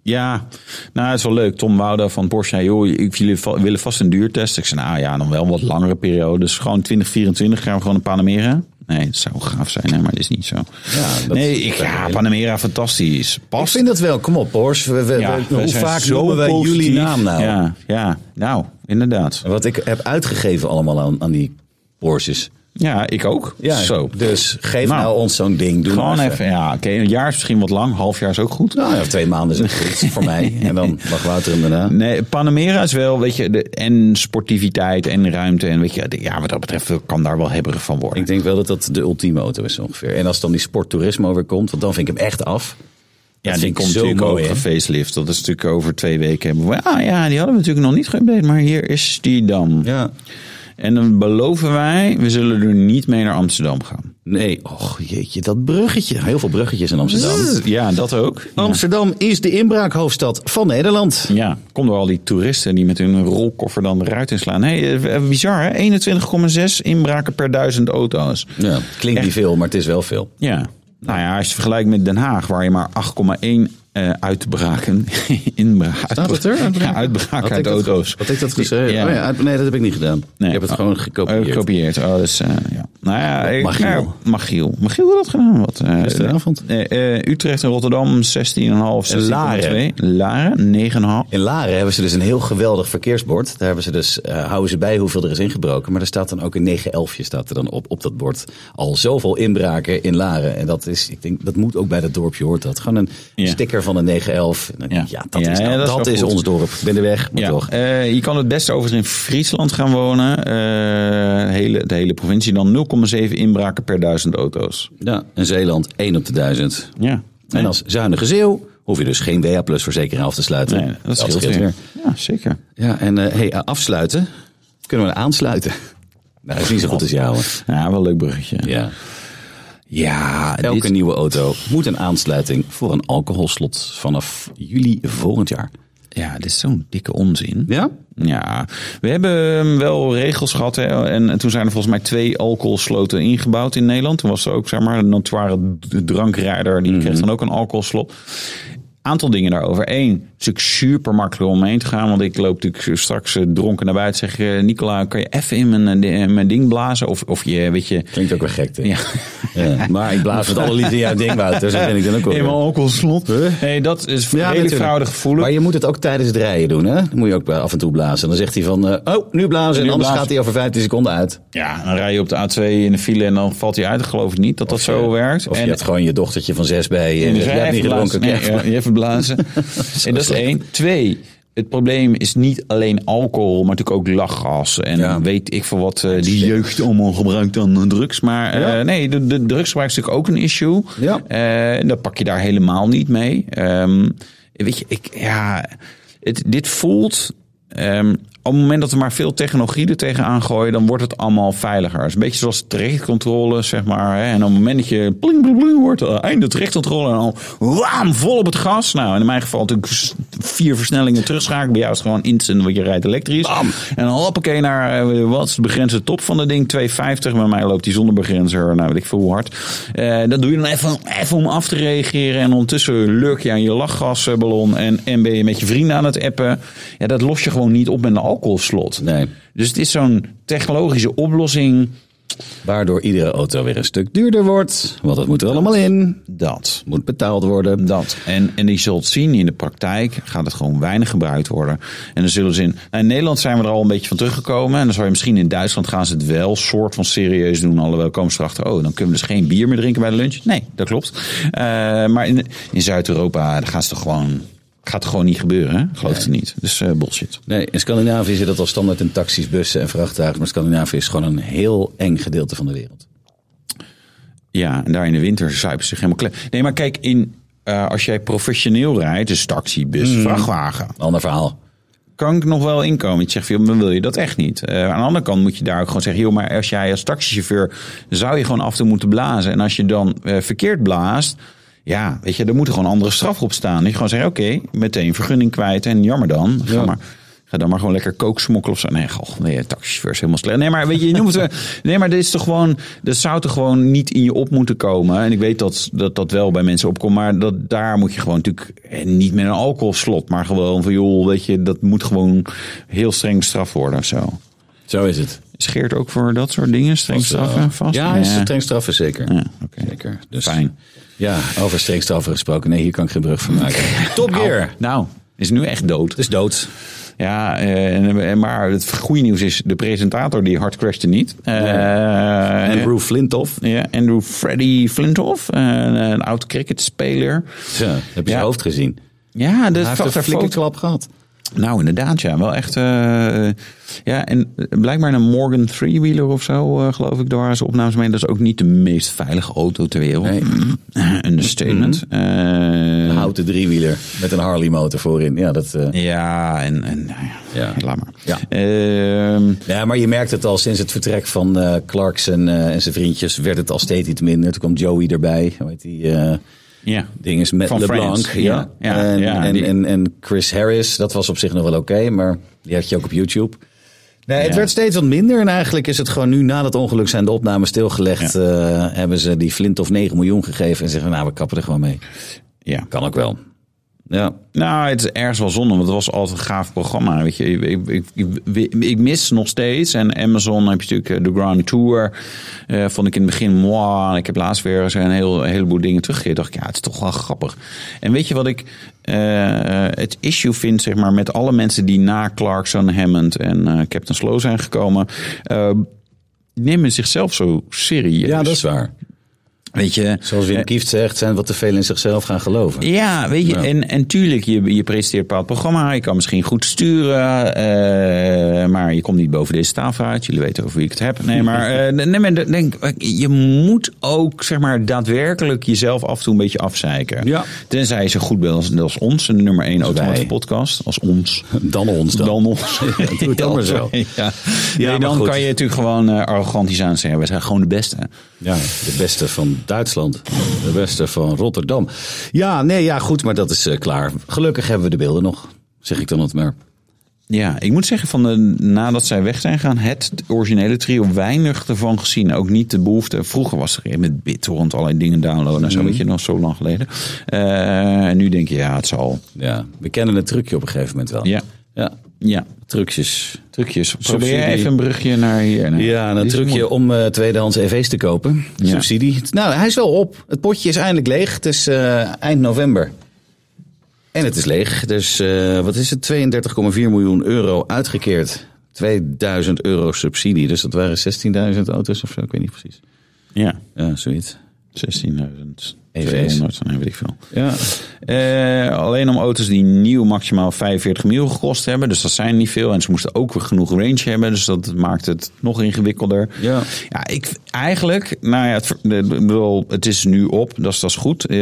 Ja, nou, het is wel leuk. Tom Wouda van Porsche zei, joh, ik, jullie va- willen vast een duurtest. Ik zei, nou ja, dan wel wat langere periode. Dus gewoon 2024 gaan we gewoon een Panamera. Nee, dat zou gaaf zijn, hè, maar dat is niet zo.
Ja, dat-
nee, ik, ja, Panamera, fantastisch.
Ik
Past.
vind dat wel. Kom op, Porsche. We- we-
Ja,
we-
wij
hoe
zijn
vaak
zo
noemen wij
positief.
jullie naam nou?
Ja, ja, nou, inderdaad.
Wat ik heb uitgegeven allemaal aan, aan die Porsches.
Ja, ik ook. zo.
Dus geef nou,
Nou,
ons zo'n ding. Doe
Gewoon
maar
even, ja, oké, een jaar is misschien wat lang, half jaar is ook goed.
Nou ja, twee maanden is het goed voor mij. En [LAUGHS] dan mag Wouter hem daarna.
Nee, Panamera is wel, weet je, de, en sportiviteit en ruimte. En weet je, de- ja, wat dat betreft kan daar wel hebberig van worden.
Ik denk wel dat dat de ultieme auto is ongeveer. En als dan die sporttoerisme weer komt, want dan vind ik hem echt af.
Ja,
Dat
die
vind ik
komt
zo
natuurlijk
mooi,
ook
hè?
gefacelift. Dat is natuurlijk over twee weken. hebben we- Ah ja, die hadden we natuurlijk nog niet geüpdate, maar hier is die dan.
Ja.
En dan beloven wij, we zullen er niet mee naar Amsterdam gaan.
Nee, och jeetje, dat bruggetje. Heel veel bruggetjes in Amsterdam.
Dus Ja, dat ook. Ja.
Amsterdam is de inbraakhoofdstad van Nederland.
Ja, komen er al die toeristen die met hun rolkoffer dan de ruit inslaan. Hey, eh, bizar hè, 21,6 inbraken per duizend auto's.
Ja, klinkt niet veel, maar het is wel veel.
Ja, nou ja, als je het vergelijkt met Den Haag, waar je maar 8,1 eh, uitbraken, [LAUGHS] inbraken.
Staat het er?
Ja, uitbraken uit auto's.
Had ik dat geschreven?
Ja.
Oh ja, uit- nee, dat heb ik niet gedaan.
Nee.
Ik heb het gewoon
Eh,
gekopieerd.
Gekopieerd. Oh, dus, eh, ja. Nou ja, ik,
Magiel.
nou, Magiel. Magiel had dat gedaan. Wat, eh,
Gisteravond.
eh, eh, Utrecht en Rotterdam 16,5. 16,2.
Laren.
Laren 9,5.
In Laren hebben ze dus een heel geweldig verkeersbord. Daar hebben ze dus, eh, houden ze bij hoeveel er is ingebroken. Maar er staat dan ook een 911 staat er dan op, op dat bord. Al zoveel inbraken in Laren. En dat is, ik denk, dat moet ook bij dat dorpje hoort dat. Gewoon een
Ja.
sticker van een 911. En dan denk ik,
Ja.
ja. dat
Ja,
is,
ja,
dan-
dat is
dat
wel
is
goed.
ons dorp. Ik ben er weg, moet
Ja,
toch.
eh, je kan het beste overigens in Friesland gaan wonen. Eh, hele, de hele provincie dan 0,7 inbraken per duizend auto's.
Ja, in Zeeland 1 op de 1000.
Ja.
En als zuinige zeeuw hoef je dus geen WA Plus verzekering af te sluiten.
Nee, dat scheelt weer. Ja, zeker.
Ja, en eh, hey, eh, afsluiten. Kunnen we aansluiten? Nou, dat is niet zo goed als jou. hoor.
Ja, wel een leuk bruggetje.
Ja.
Ja,
Elke
dit-
nieuwe auto moet een aansluiting voor een alcoholslot vanaf juli volgend jaar.
ja, dit is zo'n dikke onzin.
Ja?
Ja, we hebben ehm, wel regels gehad. Hè? En toen zijn er volgens mij twee alcoholsloten ingebouwd in Nederland. Toen was er ook, zeg maar, een notoire d- drankrijder. Die
Mhm.
kreeg dan ook een alcoholslot. Aantal dingen daarover. Eén, het is natuurlijk super makkelijk om heen te gaan. Want ik loop natuurlijk straks eh, dronken naar buiten. Zeg, eh, Nicola, kan je even in mijn, eh, in mijn ding blazen? Of, of je, weet je...
Klinkt ook wel gek, hè?
Ja.
Ja, Maar ik blaas het alle liefde in jouw ding, Wouter. Zo ben ik dan ook wel.
[LAUGHS] In mijn alcoholslot. Nee, dat is
Ja,
redelijk
natuurlijk.
fraude gevoelig.
Maar je moet het ook tijdens het rijden doen, hè? Dan moet je ook af en toe blazen. Dan zegt hij van, eh, oh, nu blazen.
Nu
en anders
blazen.
gaat hij over 15 seconden uit.
Ja, dan rij je op de A2 in de file en dan valt hij uit. Ik geloof het niet dat dat zo
Eh,
werkt.
Of
en,
je hebt gewoon je dochtertje van zes bij je.
en
En
dus
je hebt niet gedronken.
blazen.
kerel.
Nee, ja, je even
[LAUGHS]
blazen. en dat is
slecht.
één. Twee, het probleem is niet alleen alcohol, maar natuurlijk ook lachgas. En
Ja.
weet ik voor wat eh, die jeugd allemaal gebruikt dan drugs. Maar eh,
Ja.
nee, de, de drugsgebruik is natuurlijk ook een issue.
Ja.
Eh, en dat pak je daar helemaal niet mee. Ehm, weet je, ik, ja, het, dit voelt... ehm, op het moment dat we maar veel technologie er tegenaan gooien, dan wordt het allemaal veiliger. Het is een beetje zoals trajectcontrole, zeg maar. Hè? En op het moment dat je pling, pling, pling wordt, eh, einde trajectcontrole en al waam, vol op het gas. Nou, in mijn geval natuurlijk s- vier versnellingen terugschakelen. Bij jou is het gewoon instant, want je rijdt elektrisch. En dan hoppakee naar, eh, wat is de begrensde top van dat ding? 250. Bij mij loopt die zonder begrenzer, nou weet ik veel hoe hard. Eh, dat doe je dan even, even om af te reageren. En ondertussen lurk je aan je lachgasballon. En, en ben je met je vrienden aan het appen. Ja, dat los je gewoon niet op met een alcoholslot.
Nee.
Dus het is zo'n technologische oplossing.
Waardoor iedere auto weer een stuk duurder wordt. Want dat moet er allemaal in.
Dat.
Moet betaald worden.
Dat. En, en je zult zien in de praktijk gaat het gewoon weinig gebruikt worden. En dan zullen ze in. nou, in Nederland zijn we er al een beetje van teruggekomen. En dan zou je misschien in Duitsland gaan ze het wel soort van serieus doen. Alhoewel komen ze erachter. Oh, dan kunnen we dus geen bier meer drinken bij de lunch. Nee, dat klopt. Eh, maar in, in Zuid-Europa daar gaan ze toch gewoon. Gaat het gewoon niet gebeuren, hè? geloof het niet. Dus eh bullshit.
Nee, in Scandinavië zit dat al standaard in taxis, bussen en vrachtwagens. Maar Scandinavië is gewoon een heel eng gedeelte van de wereld.
Ja, en daar in de winter zuipen ze zich helemaal klem. Nee, maar kijk, in, eh, als jij professioneel rijdt, dus taxi, bus, vrachtwagen.
Ander verhaal.
kan ik nog wel inkomen. Ik zeg, joh, maar wil je dat echt niet? Eh, aan de andere kant moet je daar ook gewoon zeggen, joh, maar als jij als taxichauffeur zou je gewoon af en toe moeten blazen. En als je dan eh, verkeerd blaast, ja, weet je, er moet er gewoon een andere straf op staan. Dat je gewoon zeggen, oké, meteen vergunning kwijt en jammer dan. Ga maar. Ga dan maar gewoon lekker kook smokkelen of zo. Nee, goh, nee, taxichauffeur is helemaal slecht. Nee, maar weet je, je noemt het, [LAUGHS] wel- nee, maar dit is toch gewoon, dat zou toch gewoon niet in je op moeten komen. En ik weet dat dat, dat wel bij mensen opkomt, maar dat, daar moet je gewoon natuurlijk eh, niet met een alcoholslot, maar gewoon van joh, weet je, dat moet gewoon heel streng straf worden of zo.
Zo is het.
Scheert ook voor dat soort dingen streng straffen vast?
Ja, is streng straffen zeker.
Ja, oké.
Zeker. Dus,
Fijn.
Ja, over streng straffen gesproken. Nee, hier kan ik geen brug van maken. [LAUGHS] Top
Nou,
Gear.
nou, is nu echt dood.
Het is dood.
Ja, eh, en- en- maar het goede nieuws is, de presentator die hard crashte niet. Eh,
En Roof Flintoff.
Ja, Andrew Freddy Flintoff, eh, een, een oud cricketspeler.
Zo, heb je
Ja.
zijn hoofd gezien?
Ja, dat
Hij heeft
zag
een
er
flinke
foto.
klap gehad.
Nou, inderdaad, ja. Wel echt. eh, ja, en blijkbaar een Morgan 3-wheeler of zo, eh, geloof ik, daar waren ze opnames mee. Dat is ook niet de meest veilige auto ter wereld.
Nee.
[LAUGHS]
Mm-hmm. Nou.
Understatement. Eh,
Een houten driewieler met een Harley motor voorin. Ja, dat, eh,
ja, en, en nou ja,
Ja.
laat maar.
Ja.
Ehm,
Ja, maar je merkt het al sinds het vertrek van eh Clarkson eh, en zijn vriendjes werd het al steeds iets minder. Toen kwam Joey erbij, hoe heet die eh
ja.
ding is met
Van
LeBlanc.
Friends, ja. Ja,
en,
ja,
en,
die-
en, en Chris Harris, dat was op zich nog wel oké, maar die had je ook op YouTube. Nee, het
Ja.
werd steeds wat minder en eigenlijk is het gewoon nu na dat ongeluk zijn de opnames stilgelegd. eh, hebben ze die flint of 9 miljoen gegeven en zeggen nou we kappen er gewoon mee.
ja.
Kan ook wel. Ja,
Nou, het is ergens wel zonde, want het was altijd een gaaf programma. Weet je, ik, ik, ik, ik mis nog steeds. En Amazon heb je natuurlijk eh, de Grand Tour. Eh, vond ik in het begin moi. En Ik heb laatst weer eens een, heel, een heleboel dingen teruggekeerd. Dacht ik, ja, het is toch wel grappig. En weet je wat ik eh, eh, het issue vind, zeg maar, met alle mensen die na Clarkson, Hammond en eh, Captain Slow zijn gekomen? Eh, nemen zichzelf zo serieus.
ja dat is waar. Eh,
Weet je,
Zoals Wim Kieft zegt, zijn wat te veel in zichzelf gaan geloven.
ja, weet je,
Ja.
En, en tuurlijk, je, je presenteert een bepaald programma. Je kan misschien goed sturen, eh, maar je komt niet boven deze tafel uit. Jullie weten over wie ik het heb. Nee, maar eh, nee, maar dat- denk, je moet ook zeg maar, daadwerkelijk jezelf af en toe een beetje afzeiken.
Ja.
Tenzij je zo goed bent als, als ons, de nummer één
wij.
automatische podcast. Als ons.
Dan ons [LAUGHS] dan. [LAUGHS]
Dan ons. [LAUGHS]
doe het dan maar zo.
Ja.
Ja,
nee,
maar
dan
goed.
kan je natuurlijk gewoon eh, arrogant iets aan zeggen. We zijn gewoon de beste.
Ja, de beste van Duitsland. De beste van Rotterdam. Ja, nee, ja, goed, maar dat is eh, klaar. Gelukkig hebben we de beelden nog, zeg ik dan het maar.
Ja, ik moet zeggen, van de, nadat zij weg zijn gegaan, het originele trio weinig ervan gezien. Ook niet de behoefte. Vroeger was er met BitTorrent allerlei dingen downloaden en zo,
Mhm.
weet je, nog zo lang geleden. Eh, en nu denk je, ja, het zal.
Ja, we kennen het trucje op een gegeven moment wel.
Ja,
ja
ja.
trucjes.
Trucjes. Probeer
Subsidie.
jij even een brugje naar hier. Nee,
Ja, en
dit
een
is
trucje
moeilijk.
om eh, tweedehands EV's te kopen.
Ja.
Subsidie. Nou, hij is wel op. Het potje is eindelijk leeg. Het is eh, eind november. En het is leeg. Dus eh, wat is het? 32,4 miljoen euro uitgekeerd. 2000 euro subsidie. Dus dat waren 16.000 auto's of zo. Ik weet niet precies.
Ja,
Ja, zoiets.
16.000.
EV's.
200, nee, weet ik veel.
E Ja.
Eh, alleen om auto's die nieuw maximaal 45 mil gekost hebben. Dus dat zijn niet veel. En ze moesten ook weer genoeg range hebben. Dus dat maakt het nog ingewikkelder.
Ja.
Ja, ik eigenlijk, nou ja, het, ver- ik bedoel, het is nu op, dat is, dat is goed. Eh,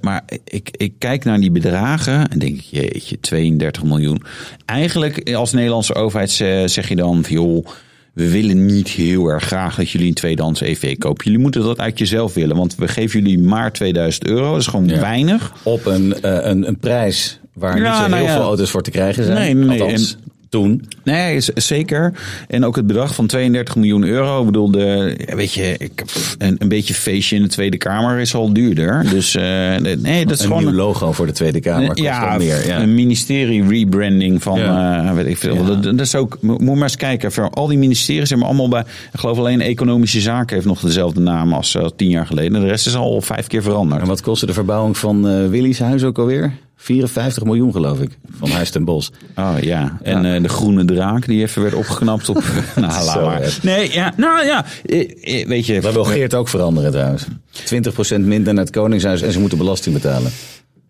maar ik, ik kijk naar die bedragen en denk ik, jeetje, 32 miljoen. Eigenlijk als Nederlandse overheid ze- zeg je dan, van, joh, we willen niet heel erg graag dat jullie een tweedehands EV kopen. Jullie moeten dat uit jezelf willen, want we geven jullie maar 2000 euro. Dat is gewoon
Ja.
weinig.
Op een, eh, een, een prijs waar
Ja,
niet zo
nou
heel
ja.
veel auto's voor te krijgen zijn.
Nee, nee, nee.
Althans,
En-
toen.
Nee, is- zeker. En ook het bedrag van 32 miljoen euro. Ik bedoel, de, ja, weet je, ik, pff, een, een beetje feestje in de Tweede Kamer is al duurder. Dus eh, nee, dat is
Een
gewoon...
nieuw logo voor de Tweede Kamer kost
ja,
al meer. Ja.
een ministerie rebranding van,
Ja.
eh, weet ik veel.
Ja.
Dat, dat is ook, mo- moet maar eens kijken. Voor al die ministeries hebben allemaal bij, ik geloof alleen economische zaken heeft nog dezelfde naam als eh, tien jaar geleden. De rest is al vijf keer veranderd.
En wat kostte de verbouwing van eh Willy's huis ook alweer? 54 miljoen geloof ik, van Huis ten Bos.
Oh ja, en eh, de groene draak die even werd opgeknapt op... [LAUGHS] nou, laat
Zo, hè.
maar. Nee, ja, nou ja, eh, eh, weet je...
Daar wil Geert ook veranderen trouwens. 20% minder naar het Koningshuis en ze moeten belasting betalen.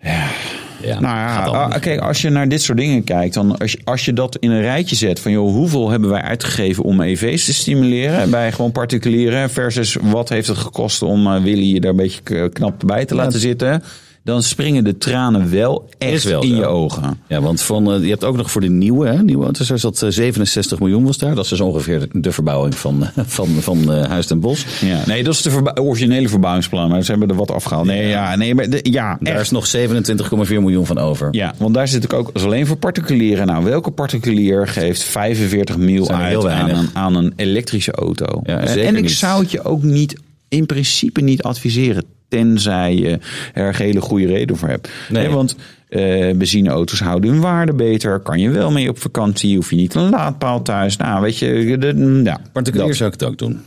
Ja,
Nou ja,
gaat allemaal
ah,
niet.
kijk, als je naar dit soort dingen kijkt, dan als je, als je dat in een rijtje zet van joh, hoeveel hebben wij uitgegeven om EV's te stimuleren bij gewoon particulieren versus wat heeft het gekost om eh, Willy je daar een beetje k- knap bij te laten zitten, dan springen de tranen wel echt
Is wel
in
zo.
je ogen.
Ja, want van, eh, je hebt ook nog voor de nieuwe, hè, nieuwe auto's, daar zat eh, 67 miljoen was daar. Dat is dus ongeveer de verbouwing van, eh, [LAUGHS] van, van eh, Huis ten Bos.
Ja, nee, dat is de verba- originele verbouwingsplan, maar ze hebben er wat afgehaald. Nee, ja, nee, maar de- ja,
Daar
echt.
is nog 27,4 miljoen van over.
Ja, want daar zit ik ook als alleen voor particulieren. Nou, welke particulier geeft 45 mil
Zijn er
uit
heel
aan
weinig.
een, aan een elektrische auto?
Ja,
Eh,
zeker
en ik
niet.
zou het je ook niet, in principe niet adviseren. Tenzij je er een hele goede reden voor hebt.
Nee.
Hè, want eh benzineauto's houden hun waarde beter. Kan je wel mee op vakantie. Hoef je niet een laadpaal thuis. Nou, weet je. De, ja,
Particulier
dat.
zou ik het ook doen.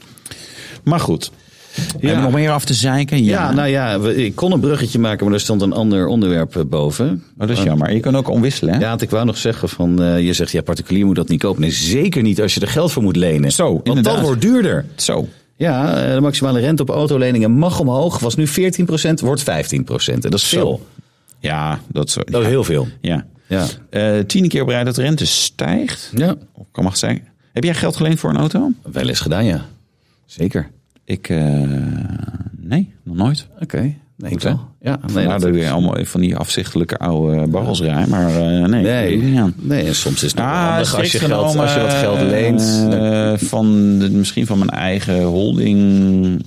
Maar goed. Heb je nog meer af te zeiken? Ja.
Ja, nou ja, we- ik kon een bruggetje maken, maar er stond een ander onderwerp eh, boven.
Oh, dat is jammer. Je kan ook omwisselen. Hè?
Ja, want ik wou nog zeggen van, eh, je zegt ja, particulier moet dat niet kopen. Nee, zeker niet als je er geld voor moet lenen.
Zo,
Want
inderdaad.
dat wordt duurder.
Zo.
Ja, eh, de maximale rente op autoleningen mag omhoog. Was nu 14%, wordt 15%. En dat is veel.
Ja, dat zo.
Dat is heel veel.
Ja.
Ja.
Eh, tiende keer op rij dat de rente stijgt.
Ja.
Of kan mag zijn. Heb jij geld geleend voor een auto?
Wel eens gedaan, ja. Zeker.
Ik, eh, nee, nog nooit.
Oké. Nee, ik
hè?
wel. Ja, nee,
nou,
dat-
dat weer allemaal van die afzichtelijke oude barrels rijden. Maar eh, nee, dat
nee.
doe ik niet aan.
nee, en soms is het nog wel
Ah,
handig als je,
strikt
geld,
genomen,
als je wat geld leent.
eh, van de- misschien van mijn eigen holding.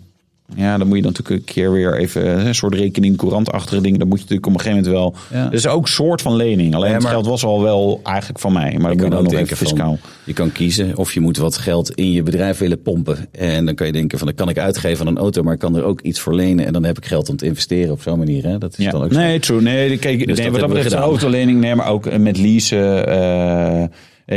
Ja, dan moet je dan natuurlijk een keer weer even eh, een soort rekening, courantachtige dingen. Dan moet je natuurlijk op een gegeven moment wel.
Ja.
Dus is ook een soort van lening. Alleen
Ja,
het
maar-
geld was al wel eigenlijk van mij. Maar
Je
ik moet
kan
dan
ook
nog
denken
even fiscaal.
van, je kan kiezen of je moet wat geld in je bedrijf willen pompen. En dan kan je denken van, dat kan ik uitgeven aan een auto, maar ik kan er ook iets voor lenen. En dan heb ik geld om te investeren op zo'n manier. Hè? Dat is
Ja.
dan ook zo. Dus
nee, true. Nee, kijk, nee,
dat
wat dat
hebben we
betreft een
gedaan.
autolening. Nee, maar ook eh, met leasen. eh, eh,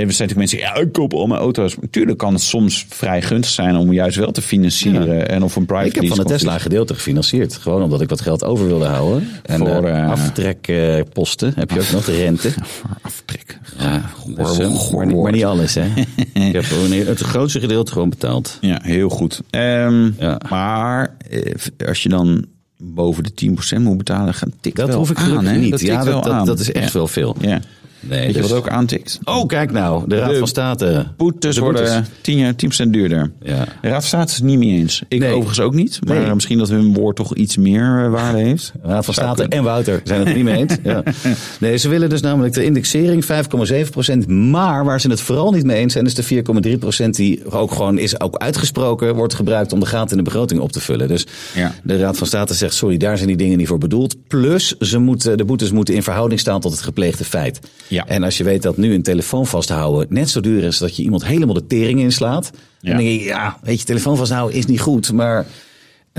er zijn natuurlijk mensen die ja, ik koop al mijn auto's. Natuurlijk kan het soms vrij gunstig zijn om juist wel te financieren. En of een private
Ik heb van
lease
de
komt.
Tesla gedeelte gefinancierd. Gewoon omdat ik wat geld over wilde houden. En
Voor,
voor
eh,
aftrekposten heb je ook nog de rente.
[LAUGHS] Voor aftrek.
Ja, dus, eh, maar,
goor
niet, maar
woord.
niet alles, hè? ik heb gewoon het grootste gedeelte gewoon betaald.
Ja, heel goed. Ehm,
Ja.
Maar eh, als je dan boven de 10% moet betalen, gaat tikt
Dat
wel
hoef ik
aan,
gelukkig
hè?
niet.
Dat tikt
ja,
wel
dat,
aan.
dat, dat is echt
ja.
wel veel.
Ja.
Nee,
Weet je
dus-
wat ook aantikt?
Oh, kijk nou. De Raad
De
van State.
Boetes
De
worden 10, jaar- 10% duurder.
Ja.
De Raad van State is het niet mee eens. Ik
Nee.
overigens ook niet. Maar
Nee.
misschien dat hun woord toch iets meer eh, waarde
[LAUGHS]
heeft.
Raad van
Zou
State
kunnen.
en Wouter zijn het er niet mee eens.
[LAUGHS]
Ja. Nee, ze willen dus namelijk de indexering 5,7%. Maar waar ze het vooral niet mee eens zijn, is de 4,3% die ook gewoon is ook uitgesproken wordt gebruikt om de gaten in de begroting op te vullen. Dus
Ja.
de Raad van State zegt, sorry, daar zijn die dingen niet voor bedoeld. Plus, ze moeten, de boetes moeten in verhouding staan tot het gepleegde feit.
Ja.
En als je weet dat nu een telefoon vasthouden net zo duur is dat je iemand helemaal de tering inslaat.
Ja.
Dan denk je, ja, weet je, telefoon vasthouden is niet goed, maar...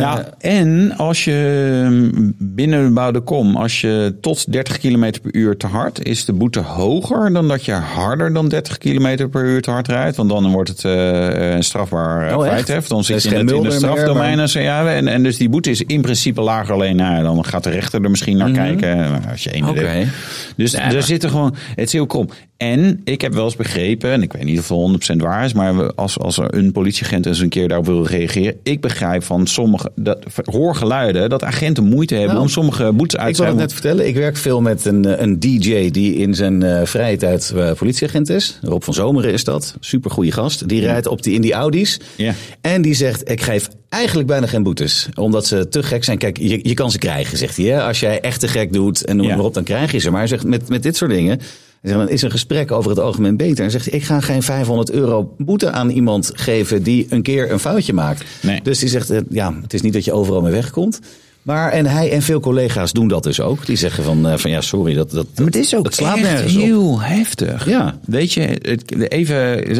Ja, en als je mm, binnen de kom, als je tot 30 km per uur te hard, is de boete hoger dan dat je harder dan 30 km per uur te hard rijdt. Want dan wordt het eh, eh, strafbaar eh,
Oh, echt?
feit. hè. Dan
Er
zit
is
je in
geen
het, in het
mulder meer,
strafdomein.
maar-
en zo, ja, en, en dus die boete is in principe lager. Alleen nou, ja, dan gaat de rechter er misschien naar kijken. eh, Als je één
Mhm. Oké.
hebt. Dus daar zitten gewoon, het is heel krom. En ik heb wel eens begrepen, en ik weet niet of het 100% waar is, maar we- als, als er een politieagent eens een keer daarop wil reageren, ik begrijp van sommige dat, hoor geluiden dat agenten moeite hebben
Nou,
om sommige boetes uit
Ik
te
wil het
schrijven.
net vertellen. Ik werk veel met een, eh, een DJ die in zijn eh, vrije tijd eh, politieagent is. Rob van Zomeren is dat. Supergoeie gast. Die rijdt op die, in die Audi's.
Ja.
En die zegt, ik geef eigenlijk bijna geen boetes. Omdat ze te gek zijn. Kijk, je, je kan ze krijgen, zegt hij. Hè? Als jij echt te gek doet en noem
Ja.
maar op, dan krijg je ze. Maar hij zegt, met, met dit soort dingen... hij zegt, Dan is een gesprek over het algemeen beter. En zegt, ik ga geen 500 euro boete aan iemand geven die een keer een foutje maakt.
Nee.
Dus die zegt, eh, ja, het is niet dat je overal mee wegkomt. Maar en hij en veel collega's doen dat dus ook. Die zeggen van, eh, van ja, sorry, dat, dat,
Maar het is ook
dat slaat
echt
nergens op.
heel heftig.
Ja.
Weet je, het, even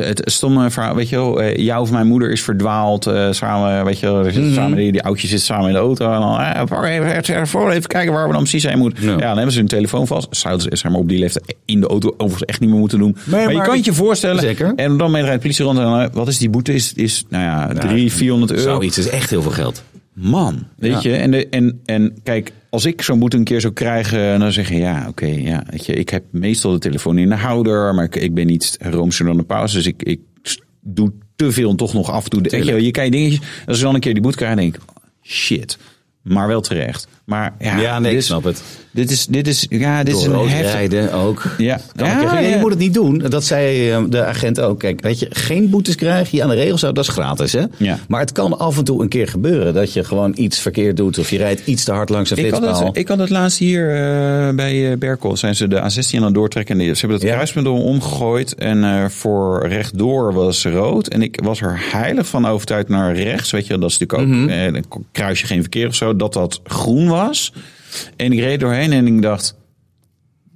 het stomme verhaal. Weet je wel, eh, jou of mijn moeder is verdwaald. eh, samen, weet je wel, er zitten samen die, die oudjes zitten samen in de auto. En dan, eh, pak even rechts ervoor, even kijken waar we dan precies heen moeten. Ja,
Ja.
dan hebben ze hun telefoon vast. Zouden ze zeg maar, op die leeftijd in de auto overigens echt niet meer moeten doen. maar, je
maar-
kan het je voorstellen.
Zeker.
En dan mee rijdt de politie rond. En eh, wat is die boete? Is, is nou ja, drie, 400 euro.
Zoiets is echt heel veel geld.
Man, weet
Ja.
je. En, de, en, en kijk, als ik zo'n boete een keer zou krijgen, en dan zeg je ja, oké, ja, weet je, ik heb meestal de telefoon in de houder, maar ik, ik ben niet roomser dan de paus, dus ik, ik s- doe te veel en toch nog af en toe. Weet je, wel, je kijkt dingetjes, als ik dan een keer die boete krijg, denk ik, shit, maar wel terecht. Maar ja,
Ja, nee, ik
dit,
snap het.
Dit is, dit is, ja, dit is
Door
een
rood
heftig.
rijden ook.
Ja.
Kan
Ja,
ik zeggen,
ja,
ja,
ja.
Je moet het niet doen. Dat zei eh, de agent ook. Kijk, weet je, geen boetes krijg je aan de regels. houdt, Dat is gratis, hè?
Ja.
Maar het kan af en toe een keer gebeuren dat je gewoon iets verkeerd doet. Of je rijdt iets te hard langs een
Ik had,
flitspaal.
het, ik had het laatst hier eh, bij eh Berkel. Zijn ze de A16 aan het doortrekken. En die- Ze hebben het
Ja.
kruismiddel omgegooid. En eh, voor rechtdoor was rood. En ik was er heilig van overtuigd naar rechts. Weet je, wel, dat is natuurlijk
Mhm.
ook... eh, dan kruis je geen verkeer of zo. Dat dat groen was. En ik reed doorheen en ik dacht...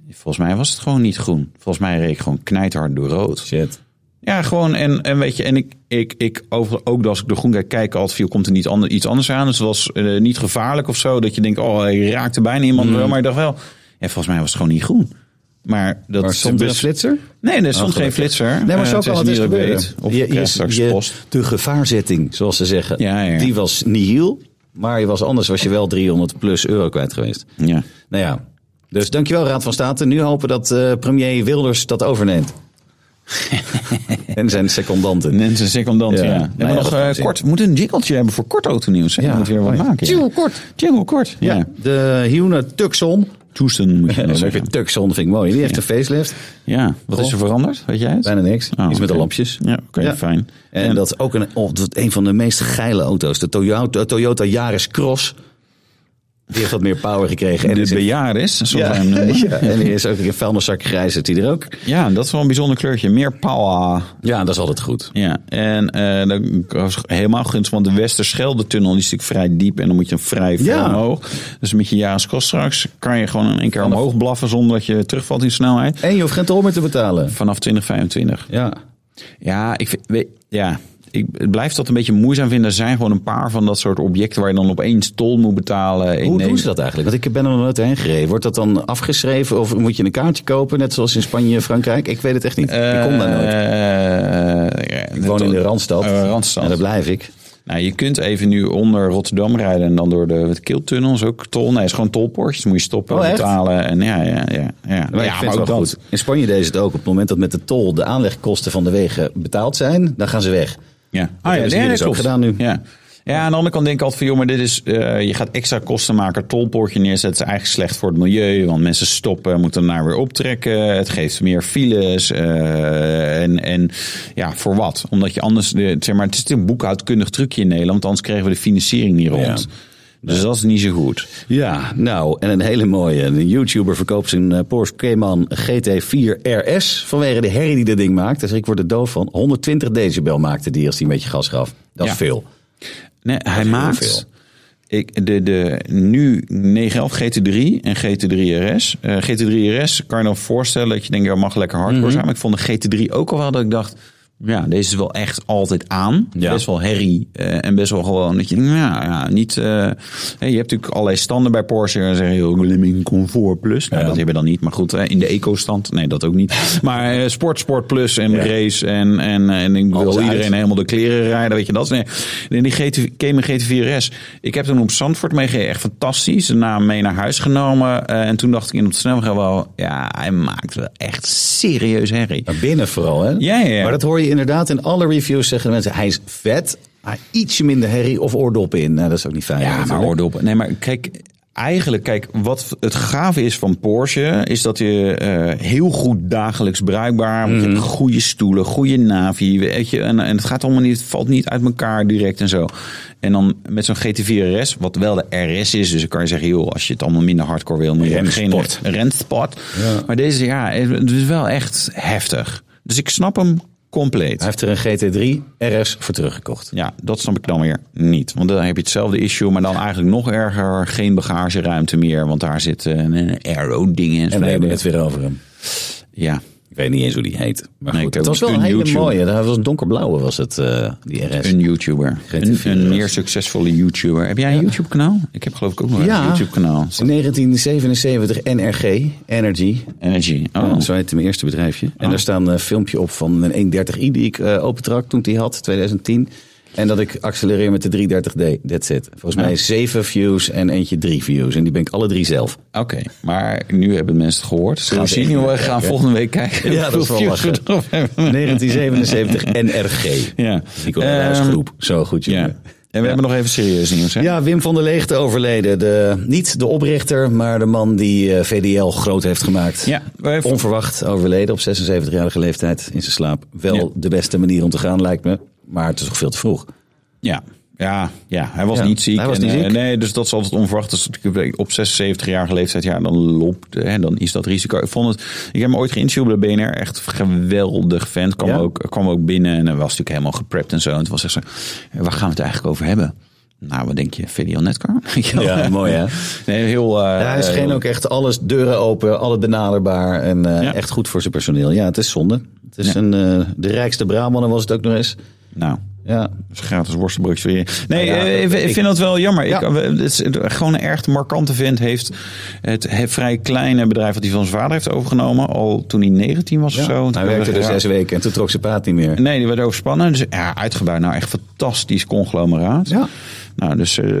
Volgens mij was het gewoon niet groen. Volgens mij reed ik gewoon knijthard door rood.
Shit.
Ja, gewoon. En, en weet je, en ik, ik, ik over, ook als ik de groen kijk, kijk altijd viel, komt er niet ander, iets anders aan. Dus het was eh, niet gevaarlijk of zo. Dat je denkt, oh, hij raakte bijna iemand
Mm.
wel. Maar ik dacht wel, ja, volgens mij was het gewoon niet groen. Maar dat
Maar soms een
gebeurt-
flitser?
Nee, er stond
Oh,
geen
gelukkig.
flitser.
Nee, maar
Eh,
zo
is
kan het
niet
dus
dat ik
gebeuren.
weet. Of je,
je,
straks
je-
post.
de gevaarzetting, zoals ze zeggen,
Ja, ja.
die was nihil. Maar je was anders, was je wel 300 plus euro kwijt geweest.
Ja.
Nou ja, dus dankjewel Raad van State. Nu hopen dat eh, premier Wilders dat
[LAUGHS]
overneemt. en zijn secondanten.
Mensen secondant, ja.
Ja.
ja.
Nou
Hebben
ja,
we nog
dat
eh,
gaan we zien.
kort, we moeten een jingletje hebben voor kort autonieuws. hè?
Ja.
We moeten weer wat
Oh ja.
maken. ja.
Jingle kort.
Jingle kort, ja.
Ja, de Hyuna Tucson [LAUGHS]
Toesten moet je
Dat
dan
is ook weer
zeggen.
Tuxon, vind ik mooi. Die heeft een facelift.
Ja, wat is er veranderd? Weet jij het?
Bijna niks.
Oh,
Iets met de
oké.
lampjes.
Ja, oké,
Ah, Ja.
fijn.
En dat is ook een, oh, dat is een van de meest geile auto's. De Toyota, Toyota Yaris Cross. Die heeft wat meer power gekregen. En
de
is in-
bejaard is, zoals
ja,
wij
[LAUGHS]
hem noemen.
ja, en die is ook in vuilniszak grijs. Zit hij er ook?
Ja, dat is wel een bijzonder kleurtje. Meer power.
Ja, dat is altijd goed.
Ja, en eh dan was helemaal gunstig, want de Westerschelde-tunnel die is natuurlijk vrij diep en dan moet je vrij ver
Ja.
omhoog. Dus met je jaarskost straks kan je gewoon in één keer omhoog blaffen zonder dat je terugvalt in snelheid.
En je hoeft geen tol meer te betalen.
Vanaf 2025.
Ja.
Ja, ik vind, weet, ja, ik het blijf dat een beetje moeizaam vinden. Er zijn gewoon een paar van dat soort objecten waar je dan opeens tol moet betalen. in
Hoe doen
Nederland.
ze dat eigenlijk? Want ik ben er nog nooit heen gereden. Wordt dat dan afgeschreven of moet je een kaartje kopen? Net zoals in Spanje, Frankrijk? Ik weet het echt niet. ik kom daar nooit.
Eh, ja,
Ik woon in de Randstad.
Eh, Randstad.
En daar blijf ik.
Nou, je kunt even nu onder Rotterdam rijden en dan door de het Kiltunnel. is ook tol. Nee, is gewoon tolpoortjes. Moet je stoppen,
Oh, echt?
betalen. En ja, ja, ja. ja.
Maar
ja,
ik vind het wel goed. In Spanje deed ze het ook. Op het moment dat met de tol de aanlegkosten van de wegen betaald zijn, dan gaan ze weg.
Ja. Ah, ja,
hebben ze hier
nee,
dus
dat
ook
klopt.
gedaan nu.
Ja. Ja, aan de andere kant denk ik altijd van, joh, maar dit is, eh, je gaat extra kosten maken, tolpoortje neerzetten, is eigenlijk slecht voor het milieu, want mensen stoppen, moeten daarna weer optrekken, het geeft meer files eh, en, en ja, voor wat? Omdat je anders, de, zeg maar, het is een boekhoudkundig trucje in Nederland, want anders kregen we de financiering niet rond. Dus dat is niet zo goed.
Ja, nou, en een hele mooie. Een YouTuber verkoopt zijn eh, Porsche Cayman GT4 RS vanwege de herrie die dat ding maakt. Dus ik word er doof van. 120 decibel maakte die als die een beetje gas gaf. Dat is
Ja.
veel.
Nee, hij
heel
maakt
veel.
Ik, de, de nu 911 GT3 en GT3 RS. Eh, GT3 RS kan je dan voorstellen dat je denkt, ja, mag lekker hardcore
Mhm.
zijn. Maar ik vond de GT3 ook al wel dat ik dacht, ja, deze is wel echt altijd aan.
Ja.
Best wel herrie eh, en best wel gewoon dat je, denkt, ja, ja niet. eh, hè, je hebt natuurlijk allerlei standen bij Porsche en zeggen, joh, oh, ik wil hem in comfort plus. Nou, dat hebben we dan niet. Maar goed, hè, in de eco-stand, nee, dat ook
[LAUGHS]
niet. Maar eh, sport, sport plus en race en en eh, en ik wil
Alles uit.
iedereen helemaal de kleren rijden, weet je dat. is- Nee, nee, die GT, Cayman GT4S, ik heb toen op Zandvoort meegegeven, echt fantastisch. Daarna mee naar huis genomen eh, en toen dacht ik in op de snelweg wel, ja, hij maakt wel echt serieus herrie.
Maar binnen vooral, hè?
Ja, ja, ja.
Maar dat hoor je inderdaad in alle reviews zeggen de mensen. Hij is vet, maar ietsje minder herrie of oordoppen in. Nou, dat is ook niet fijn.
Ja, maar
natuurlijk.
oordop. Nee, maar kijk, eigenlijk, kijk, wat het gave is van Porsche, is dat je eh, heel goed dagelijks bruikbaar. Want je hebt goede stoelen, goede navi, weet je, en, en het gaat allemaal niet, het valt niet uit elkaar direct en zo. En dan met zo'n GT4 RS, wat wel de RS is, dus dan kan je zeggen, joh, als je het allemaal minder hardcore wil, moet je
Rensport.
geen rensport. Maar deze, ja, het is wel echt heftig. Dus ik snap hem compleet.
Hij heeft er een GT3 RS voor teruggekocht.
Ja, dat snap ik dan weer niet. Want dan heb je hetzelfde issue, maar dan eigenlijk nog erger. Geen bagageruimte meer, want daar zit eh, een aero-ding in.
En we hebben het weer over hem.
Ja.
Ik weet niet eens hoe die heet. Maar
Nee,
goed,
ik
het
ook
was wel
niet.
een
Een
hele
YouTuber.
mooie. Dat was een donkerblauwe was het, eh, die RS.
Een YouTuber. Een, een meer succesvolle YouTuber. Heb jij een YouTube-kanaal? Ik heb geloof ik ook nog
Ja.
een YouTube-kanaal.
1977 NRG, Energy.
Energy. Oh.
Zo heette mijn eerste bedrijfje. En daar staan een filmpje op van een 130i die ik eh opentrak toen ik die had, 2010. En dat ik accelereer met de 330D. That's it. Volgens mij zeven views en eentje drie views. En die ben ik alle drie zelf.
Oké, maar nu hebben mensen het gehoord. Dus
Gaan
gaan
ze
zien
echt
hoe we
kijken.
gaan volgende week kijken.
Ja, dat is wel
hoeveel
lachen.
views we erop hebben.
1977 NRG.
Ja.
Nicola
Ehm,
Huisgroep. Zo goed,
Ja.
jongen.
En we hebben nog even serieus nieuws. Hè?
Ja, Wim van der Leegte overleden. De, niet de oprichter, maar de man die eh, VDL groot heeft gemaakt.
Ja, we hebben-
Onverwacht overleden op 76-jarige leeftijd in zijn slaap. Wel
Ja.
de beste manier om te gaan, lijkt me. Maar het is nog veel te vroeg.
Ja. Ja, ja, hij was
Ja,
niet ziek.
hij was
En,
niet
eh,
ziek.
nee, dus dat is altijd onverwacht. Dus ik weet, op 76-jarige leeftijd, ja, dan loopt, hè, dan is dat risico. Ik vond het, ik heb hem ooit geïnterviewd bij BNR, echt geweldig vent. Kwam,
Ja?
ook, kwam ook binnen en hij was natuurlijk helemaal geprept en zo. En het was echt zo, eh, waar gaan we het eigenlijk over hebben? Nou, wat denk je, VDL Netcar? [LAUGHS]
Ja, mooi, hè?
Nee, heel... eh,
hij scheen
heel-
ook echt alles deuren open, alles benaderbaar. En eh,
Ja.
echt goed voor zijn personeel. Ja, het is zonde. Het is
Ja.
een, eh, de rijkste Brabant was het ook nog eens.
Nou,
Ja,
Dat is gratis worstenbroodjes voor je. Nee,
Nou ja,
eh, ik,
dat-
ik
ik-
vind dat wel jammer.
Ja.
Ik, eh, het is het- gewoon een echt markante vent. Heeft het, he- vrij kleine bedrijf dat hij van zijn vader heeft overgenomen. Al toen hij 19 was
ja.
of zo. Toen
hij werkte dus er
werd-
zes weken en toen trok zijn paard niet meer.
Nee, die werd overspannen. Dus ja, uitgebouwd. Nou, echt fantastisch conglomeraat.
Ja.
Nou, dus eh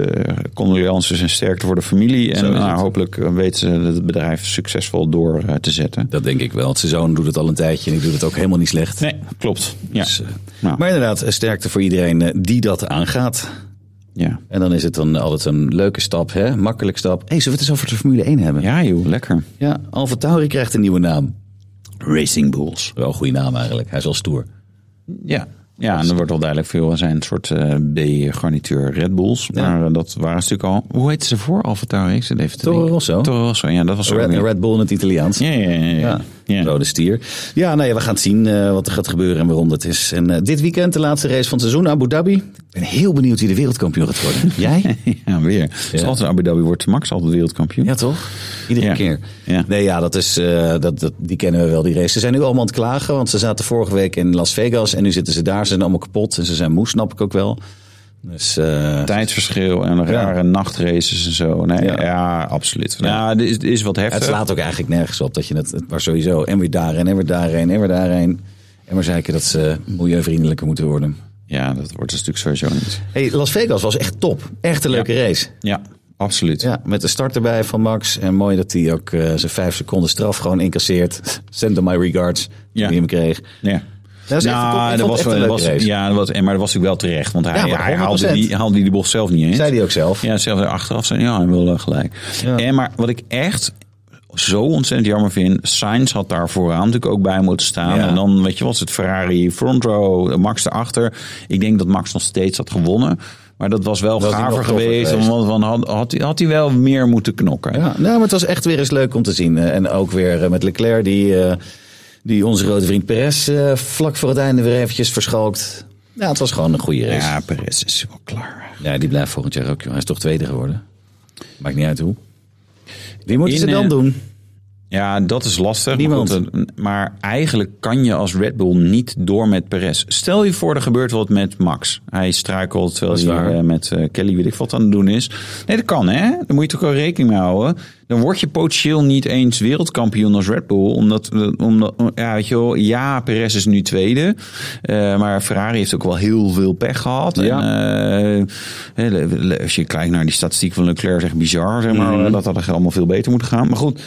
condolences en sterkte voor de familie.
Zo
En
is
nou,
het.
hopelijk weten ze het bedrijf succesvol door eh, te zetten.
Dat denk ik wel. Want zijn zoon doet het al een tijdje en ik doe het ook helemaal niet slecht.
Nee, klopt. Ja.
Dus, eh,
Nou.
Maar inderdaad, eh, sterkte voor iedereen eh, die dat aangaat.
Ja.
En dan is het dan altijd een leuke stap, hè? makkelijk stap. Hé, hey, zullen we het eens over de Formule 1 hebben?
ja, joh, lekker.
Ja, Alfa Tauri krijgt een nieuwe naam. Racing Bulls. Wel een goede naam eigenlijk. Hij is wel stoer.
Ja. Ja, en er wordt al duidelijk veel. Er zijn een soort eh, B-garnituur Red Bulls. Maar eh, dat waren ze natuurlijk al. Hoe heette ze voor Alfa Tauri? Ik zit even te
Toro
denken.
Rosso?
Toro Rosso, ja, dat was ook
Red,
weer-
Red Bull in het Italiaans.
Ja, ja, ja. ja. ja.
Rode stier. Ja, nou ja, we gaan het zien eh, wat er gaat gebeuren en waarom dat is. En eh, dit weekend de laatste race van het seizoen, Abu Dhabi. Ik ben heel benieuwd wie de wereldkampioen gaat worden.
[LAUGHS]
Jij?
[LAUGHS] Ja, weer. Dus altijd in Abu Dhabi wordt Max altijd wereldkampioen.
Ja, toch? Iedere
Ja.
keer.
Ja.
Nee, ja, dat is, eh, dat, dat, die kennen we wel, die race. Ze zijn nu allemaal aan het klagen, want ze zaten vorige week in Las Vegas. En nu zitten ze daar, ze zijn allemaal kapot. En ze zijn moe, snap ik ook wel. Dus eh,
Tijdsverschil en rare nachtraces en zo. Nee,
Ja.
ja. absoluut. Ja, dit is, dit is wat
het
heftig.
slaat ook eigenlijk nergens op dat je het, het- maar sowieso. En weer daarheen, en weer daarheen, en weer daarheen. En maar zeiken dat ze milieuvriendelijker moeten worden.
Ja, dat wordt dus natuurlijk sowieso niet.
Hey, Las Vegas was echt top. Echt een leuke race.
Ja, absoluut.
Ja, met de start erbij van Max. En mooi dat hij ook eh, zijn vijf seconden straf gewoon incasseert. [LAUGHS] Send him my regards.
Ja.
Die hem kreeg.
Ja.
Dat is echt een top- ik vond
Nou,
het
dat was
echt een
wel,
leuke
was,
race.
ja, dat was, en- maar dat was natuurlijk wel terecht. Want hij,
Ja, maar
hij haalde,
100%.
die, haalde die bocht zelf niet eens.
Zei hij ook zelf.
Ja, zelf achteraf zijn. Ja, hij wil wel eh, gelijk.
Ja.
En, maar wat ik echt zo ontzettend jammer vind. Sainz had daar vooraan natuurlijk ook bij moeten staan.
Ja.
En dan, weet je wat, is het Ferrari front row, Max erachter. Ik denk dat Max nog steeds had gewonnen. Maar dat was wel
Was hij
gaver
nog toffer
geweest.
geweest.
Want want had, had, hij- had hij wel meer moeten knokken.
Ja, nou, maar het was echt weer eens leuk om te zien. Eh, En ook weer eh, met Leclerc, die, eh, die onze rode vriend Perez eh, vlak voor het einde weer eventjes verschalkt. Ja, het was gewoon een goede race. Ja,
Ja, Perez is wel klaar.
die blijft volgend jaar ook, joh. Hij is toch tweede geworden. Maakt niet uit hoe. Wie moeten
In,
ze dan
eh,
doen?
Ja, dat is lastig.
Niemand.
Maar, goed, dat- maar eigenlijk kan je als Red Bull niet door met Perez. Stel je voor, er gebeurt wat met Max. Hij struikelt terwijl
is
hij
waar.
eh, met eh, Kelly weet ik wat aan het doen is. Nee, dat kan hè. Daar moet je toch wel rekening mee houden. Dan word je potentieel niet eens wereldkampioen als Red Bull. Omdat, eh, omdat ja, weet je wel, ja, Perez is nu tweede. Eh, maar Ferrari heeft ook wel heel veel pech gehad.
Ja.
En, eh, hè, le- le- als je kijkt naar die statistiek van Leclerc, zeg bizar, zeg maar,
Mhm.
dat dat er allemaal veel beter moet gaan. Maar goed,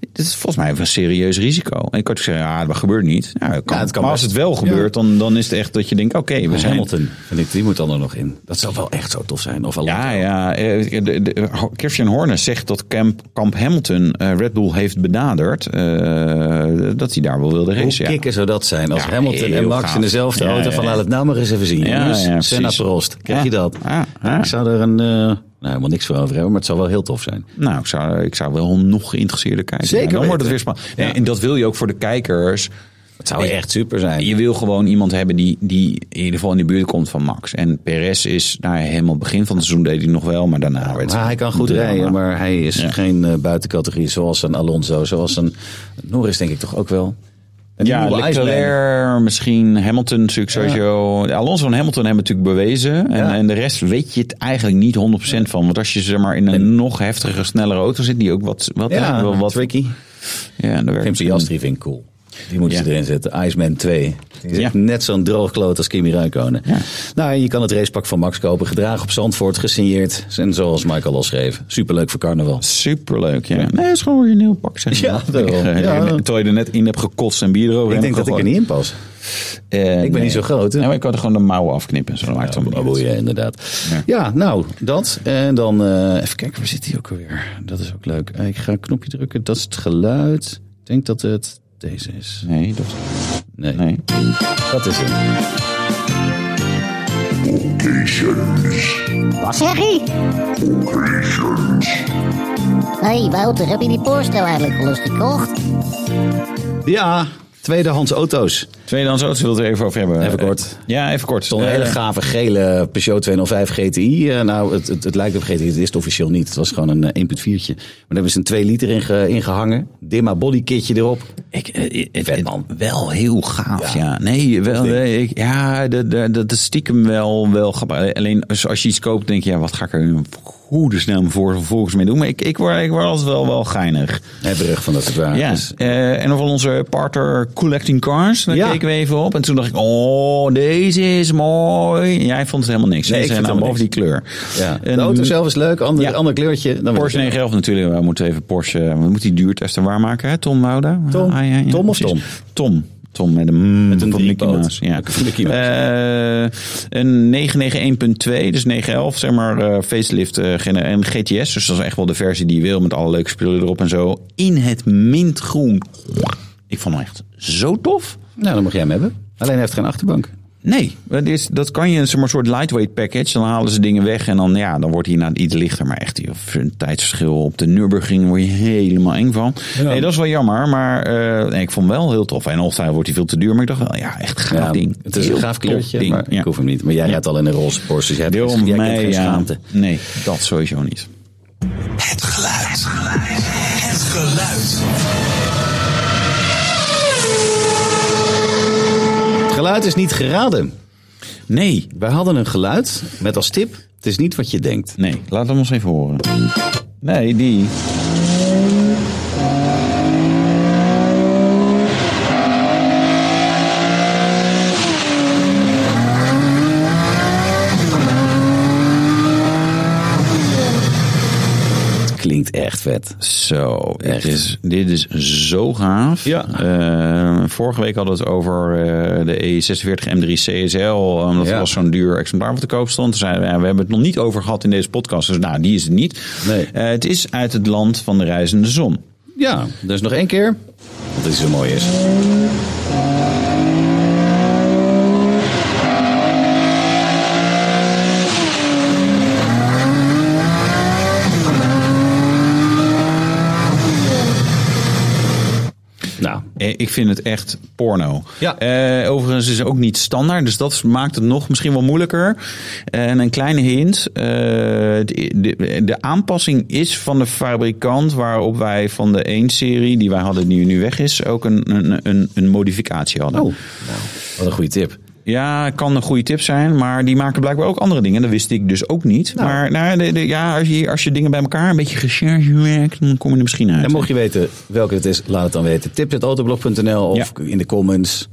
het is volgens mij een serieus risico. En ik kan ook zeggen, ja, dat gebeurt niet. Ja, dat kan.
Ja, het kan
maar als
best.
het wel gebeurt, dan, dan is het echt dat je denkt, oké, we zijn...
Hamilton. En die, die moet dan er nog in. Dat zou wel echt zo tof zijn. Of Alonso.
Ja, ja. eh, de- de- Ho- Christian Horner zegt dat Camp, Camp Hamilton eh, Red Bull heeft benaderd. eh, dat hij daar wel wilde
Hoe
racen. ja.
kicken zou dat zijn als
Ja,
Hamilton en
heel
Max
gaaf.
in dezelfde
Ja,
auto van
ja.
laat het nou maar eens even zien.
Ja,
jongens.
ja, precies.
Senna Prost, krijg je
Ja.
dat?
Ja, ja.
Ik zou er een, eh, nou helemaal niks voor over hebben, maar het zou wel heel tof zijn.
Nou, ik zou, ik zou wel nog geïnteresseerder kijken.
Zeker
Ja, dan wordt het weer
weten.
spannend. Nee, En dat wil je ook voor de kijkers.
Het zou echt super zijn.
Je wil gewoon iemand hebben die, die in ieder geval in de buurt komt van Max. En Perez is, nou ja, helemaal het begin van het seizoen deed hij nog wel, maar daarna werd
Maar Ah, hij kan goed
drama.
rijden, maar hij is
Ja.
geen eh, buitencategorie zoals een Alonso, zoals een Norris denk ik toch ook wel. En die
Ja,
nieuwe Iceman.
Leclerc, misschien Hamilton natuurlijk sowieso. Alonso en Hamilton hebben het natuurlijk bewezen. En,
Ja.
en de rest weet je het eigenlijk niet 100% van. Want als je zeg maar in een nog heftiger, snellere auto zit, die ook wat... wat
Ja,
wel wat
tricky.
Ja, dan werkt
Kim
het
Piastri vind ik cool. Die moeten ze
Ja.
erin zetten. Iceman 2. Die is
Ja.
echt net zo'n droogkloot als Kimi Räikkönen. Nou, en je kan het racepak van Max kopen. Gedragen op Zandvoort, gesigneerd. En zoals Michael al schreef. Superleuk voor carnaval.
Superleuk, ja. Nee, het is gewoon origineel pak, zeg
Ja,
maar.
daarom.
Ik, eh,
Ja.
Terwijl je er net in hebt gekotst en bier erover
Ik
hebt
denk dat ik er
gegooid.
niet in pas.
Eh,
Ik ben niet zo groot, hè?
Nee, maar je kan er gewoon de mouwen afknippen. Zo dat maakt het allemaal
Oh,
niet uit.
boeien, inderdaad. Ja. nou, dat. En dan eh, even kijken, waar zit hij ook alweer? Dat is ook leuk. Eh, Ik ga een knopje drukken. Dat is het geluid. Ik denk dat het deze is.
Nee, dat...
Nee,
Nee.
dat is hem.
Wat zeg je? Hé hey Wouter, heb je die Porsche nou eigenlijk al eens gekocht?
Ja, tweedehands auto's.
Tweedehands auto's wil het er even over hebben.
Even
Eh,
kort.
Ja, even kort.
Zo'n
Eh,
hele gave gele Peugeot 205 GTI. Eh, nou, het, het, het lijkt op GTI, het is het officieel niet. Het was gewoon een eh, 1.4'tje. Maar daar hebben ze een 2 liter in, ge- in gehangen. Dimma bodykitje erop.
Ik, eh, eh,
Vet
eh,
man.
Wel heel gaaf,
Ja.
ja. Nee, wel,
ding.
nee, ik, ja, dat, dat, dat is stiekem wel, wel grappig. Eh, Alleen dus als, als je iets koopt, denk je, ja, wat ga ik er nu goede snel voor vervolgens mee doen? Maar ik, ik, word, ik word altijd wel, wel geinig.
Hebberig van dat het waar
Ja,
is.
eh, en van onze partner Collecting Cars, daar
dus- Ja.
keken we even op. En toen dacht ik, oh, deze is mooi. Jij vond het helemaal niks.
Nee, ik
Ze zijn
vind het
namelijk over die
helemaal
kleur.
Ja. De
En-
auto zelf is leuk, ander,
Ja.
ander kleurtje. Dan
Porsche
weet
911 natuurlijk. eh, We moeten even Porsche. We moeten die duurtesten waarmaken, hè? Tom Wouda.
Tom?
Ah, ja, ja,
Tom of
precies. Tom. Tom met een, met
een
van Mickey
driepoot.
Mouse. Ja.
Van Mickey
Eh, een 991.2, dus 911, zeg maar, eh, facelift eh, gener- en GTS. Dus dat is echt wel de versie die je wil, met alle leuke spullen erop en zo. In het mintgroen. Ik vond hem echt zo tof.
Nou, dan mag jij hem hebben. Alleen hij heeft geen achterbank.
Nee, dat, is, dat kan je een zeg maar, soort lightweight package. Dan halen ze dingen weg en dan, ja, dan wordt hij inderdaad iets lichter. Maar echt die een tijdsverschil op de Nürburgring word je helemaal eng van. Nee, dat is wel jammer. Maar eh, nee, ik vond hem wel heel tof. En of hij wordt hij veel te duur. Maar ik dacht wel, ja, echt gaaf ding.
Het is een
Heel
gaaf
tof
kleurtje,
ding,
maar
ja.
ik hoef hem niet. Maar jij gaat al in een roze Porsche, dus jij, hebt
Deel
geen- jij kent
mij,
geen
ja.
schaamte.
Nee, dat sowieso niet.
Het geluid. Het geluid. Het geluid.
Het geluid is niet geraden.
Nee,
Wij hadden een geluid met als tip, het is niet wat je denkt.
nee. Laat hem ons even horen. Nee, die.
Het klinkt echt vet.
Zo, dit is, dit is zo gaaf.
Ja.
Eh, vorige week hadden we het over eh, de E46 M3 CSL. Omdat
Ja.
er was zo'n duur exemplaar wat te koop stond. Toen zeiden we, ja, we hebben het nog niet over gehad in deze podcast. Dus nou, die is het niet.
Nee.
Eh, het is uit het land van de reizende zon.
Ja, dus nog één keer. Wat dit zo mooi is. Nou,
Eh, Ik vind het echt porno.
Ja.
Eh, overigens is het ook niet standaard, dus dat maakt het nog misschien wel moeilijker. En een kleine hint: eh, de, de, de aanpassing is van de fabrikant waarop wij van de 1-serie, die wij hadden, die nu weg is, ook een, een, een, een modificatie hadden.
oh, wat een goede tip.
Ja, kan een goede tip zijn, maar die maken blijkbaar ook andere dingen. Dat wist ik dus ook niet. Maar nou, de, de- ja, als, je, als je dingen bij elkaar een beetje recherche werkt, dan kom je er misschien uit.
En mocht je weten welke het is, laat het dan weten. Tips.autoblog.nl of in de comments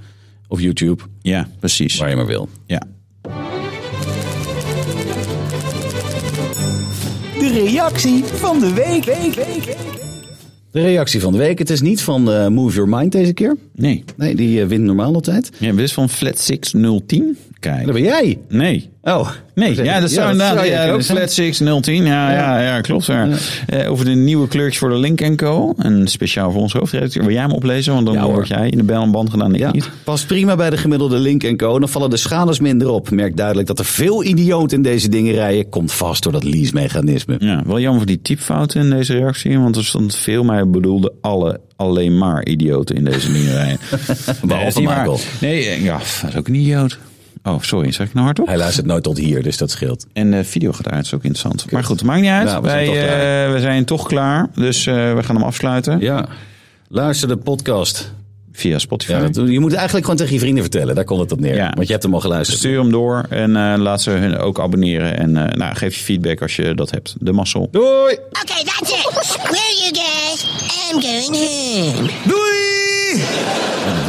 of YouTube,
Ja, precies.
waar je maar wil.
Ja.
De reactie van de week.
De reactie van de week. Het is niet van eh, Move Your Mind deze keer.
Nee.
Nee, die eh, wint normaal altijd.
Ja, dit is van Flat 6010. Kijk.
Dat ben jij.
Nee.
Oh.
Nee, ja, dat zou inderdaad
jij
ja, ook
kunnen zijn.
Flat 6010. Ja, ja. ja, klopt. Ja. Eh, over de nieuwe kleurtjes voor de Link Co. En speciaal voor ons hoofdredacteur. Wil jij hem oplezen? Want dan
Ja, hoor.
word jij in de bel en band gedaan. Ik
Ja,
niet.
past prima bij de gemiddelde Link en Co. Dan vallen de schades minder op. Merk duidelijk dat er veel idioten in deze dingen rijden. Komt vast door dat lease-mechanisme.
Ja, wel jammer voor die typfouten in deze reactie. Want er stond veel, maar hij bedoelde alle, alleen maar idioten in deze dingen [LAUGHS] rijden.
Behalve
is niet waar.
Michael.
Nee, eh, ja, pff, dat is ook een idioot. Oh, sorry, zeg ik nou hardop?
Hij luistert nooit tot hier, dus dat scheelt.
En de video gaat uit, is ook interessant. Maar goed, maakt niet uit.
Nou, we zijn
Wij,
toch
eh,
klaar.
we zijn toch klaar. Dus eh, we gaan hem afsluiten
Ja. Luister de podcast.
via Spotify.
Ja, dat- je moet het eigenlijk gewoon tegen je vrienden vertellen. Daar komt het op neer.
Ja.
Want je hebt hem al geluisterd.
Stuur hem door en eh, laat ze hun ook abonneren. En eh, nou, geef je feedback als je dat hebt. De mazzel.
Doei!
Okay, that's it. Screw you guys. I'm going home.
Doei!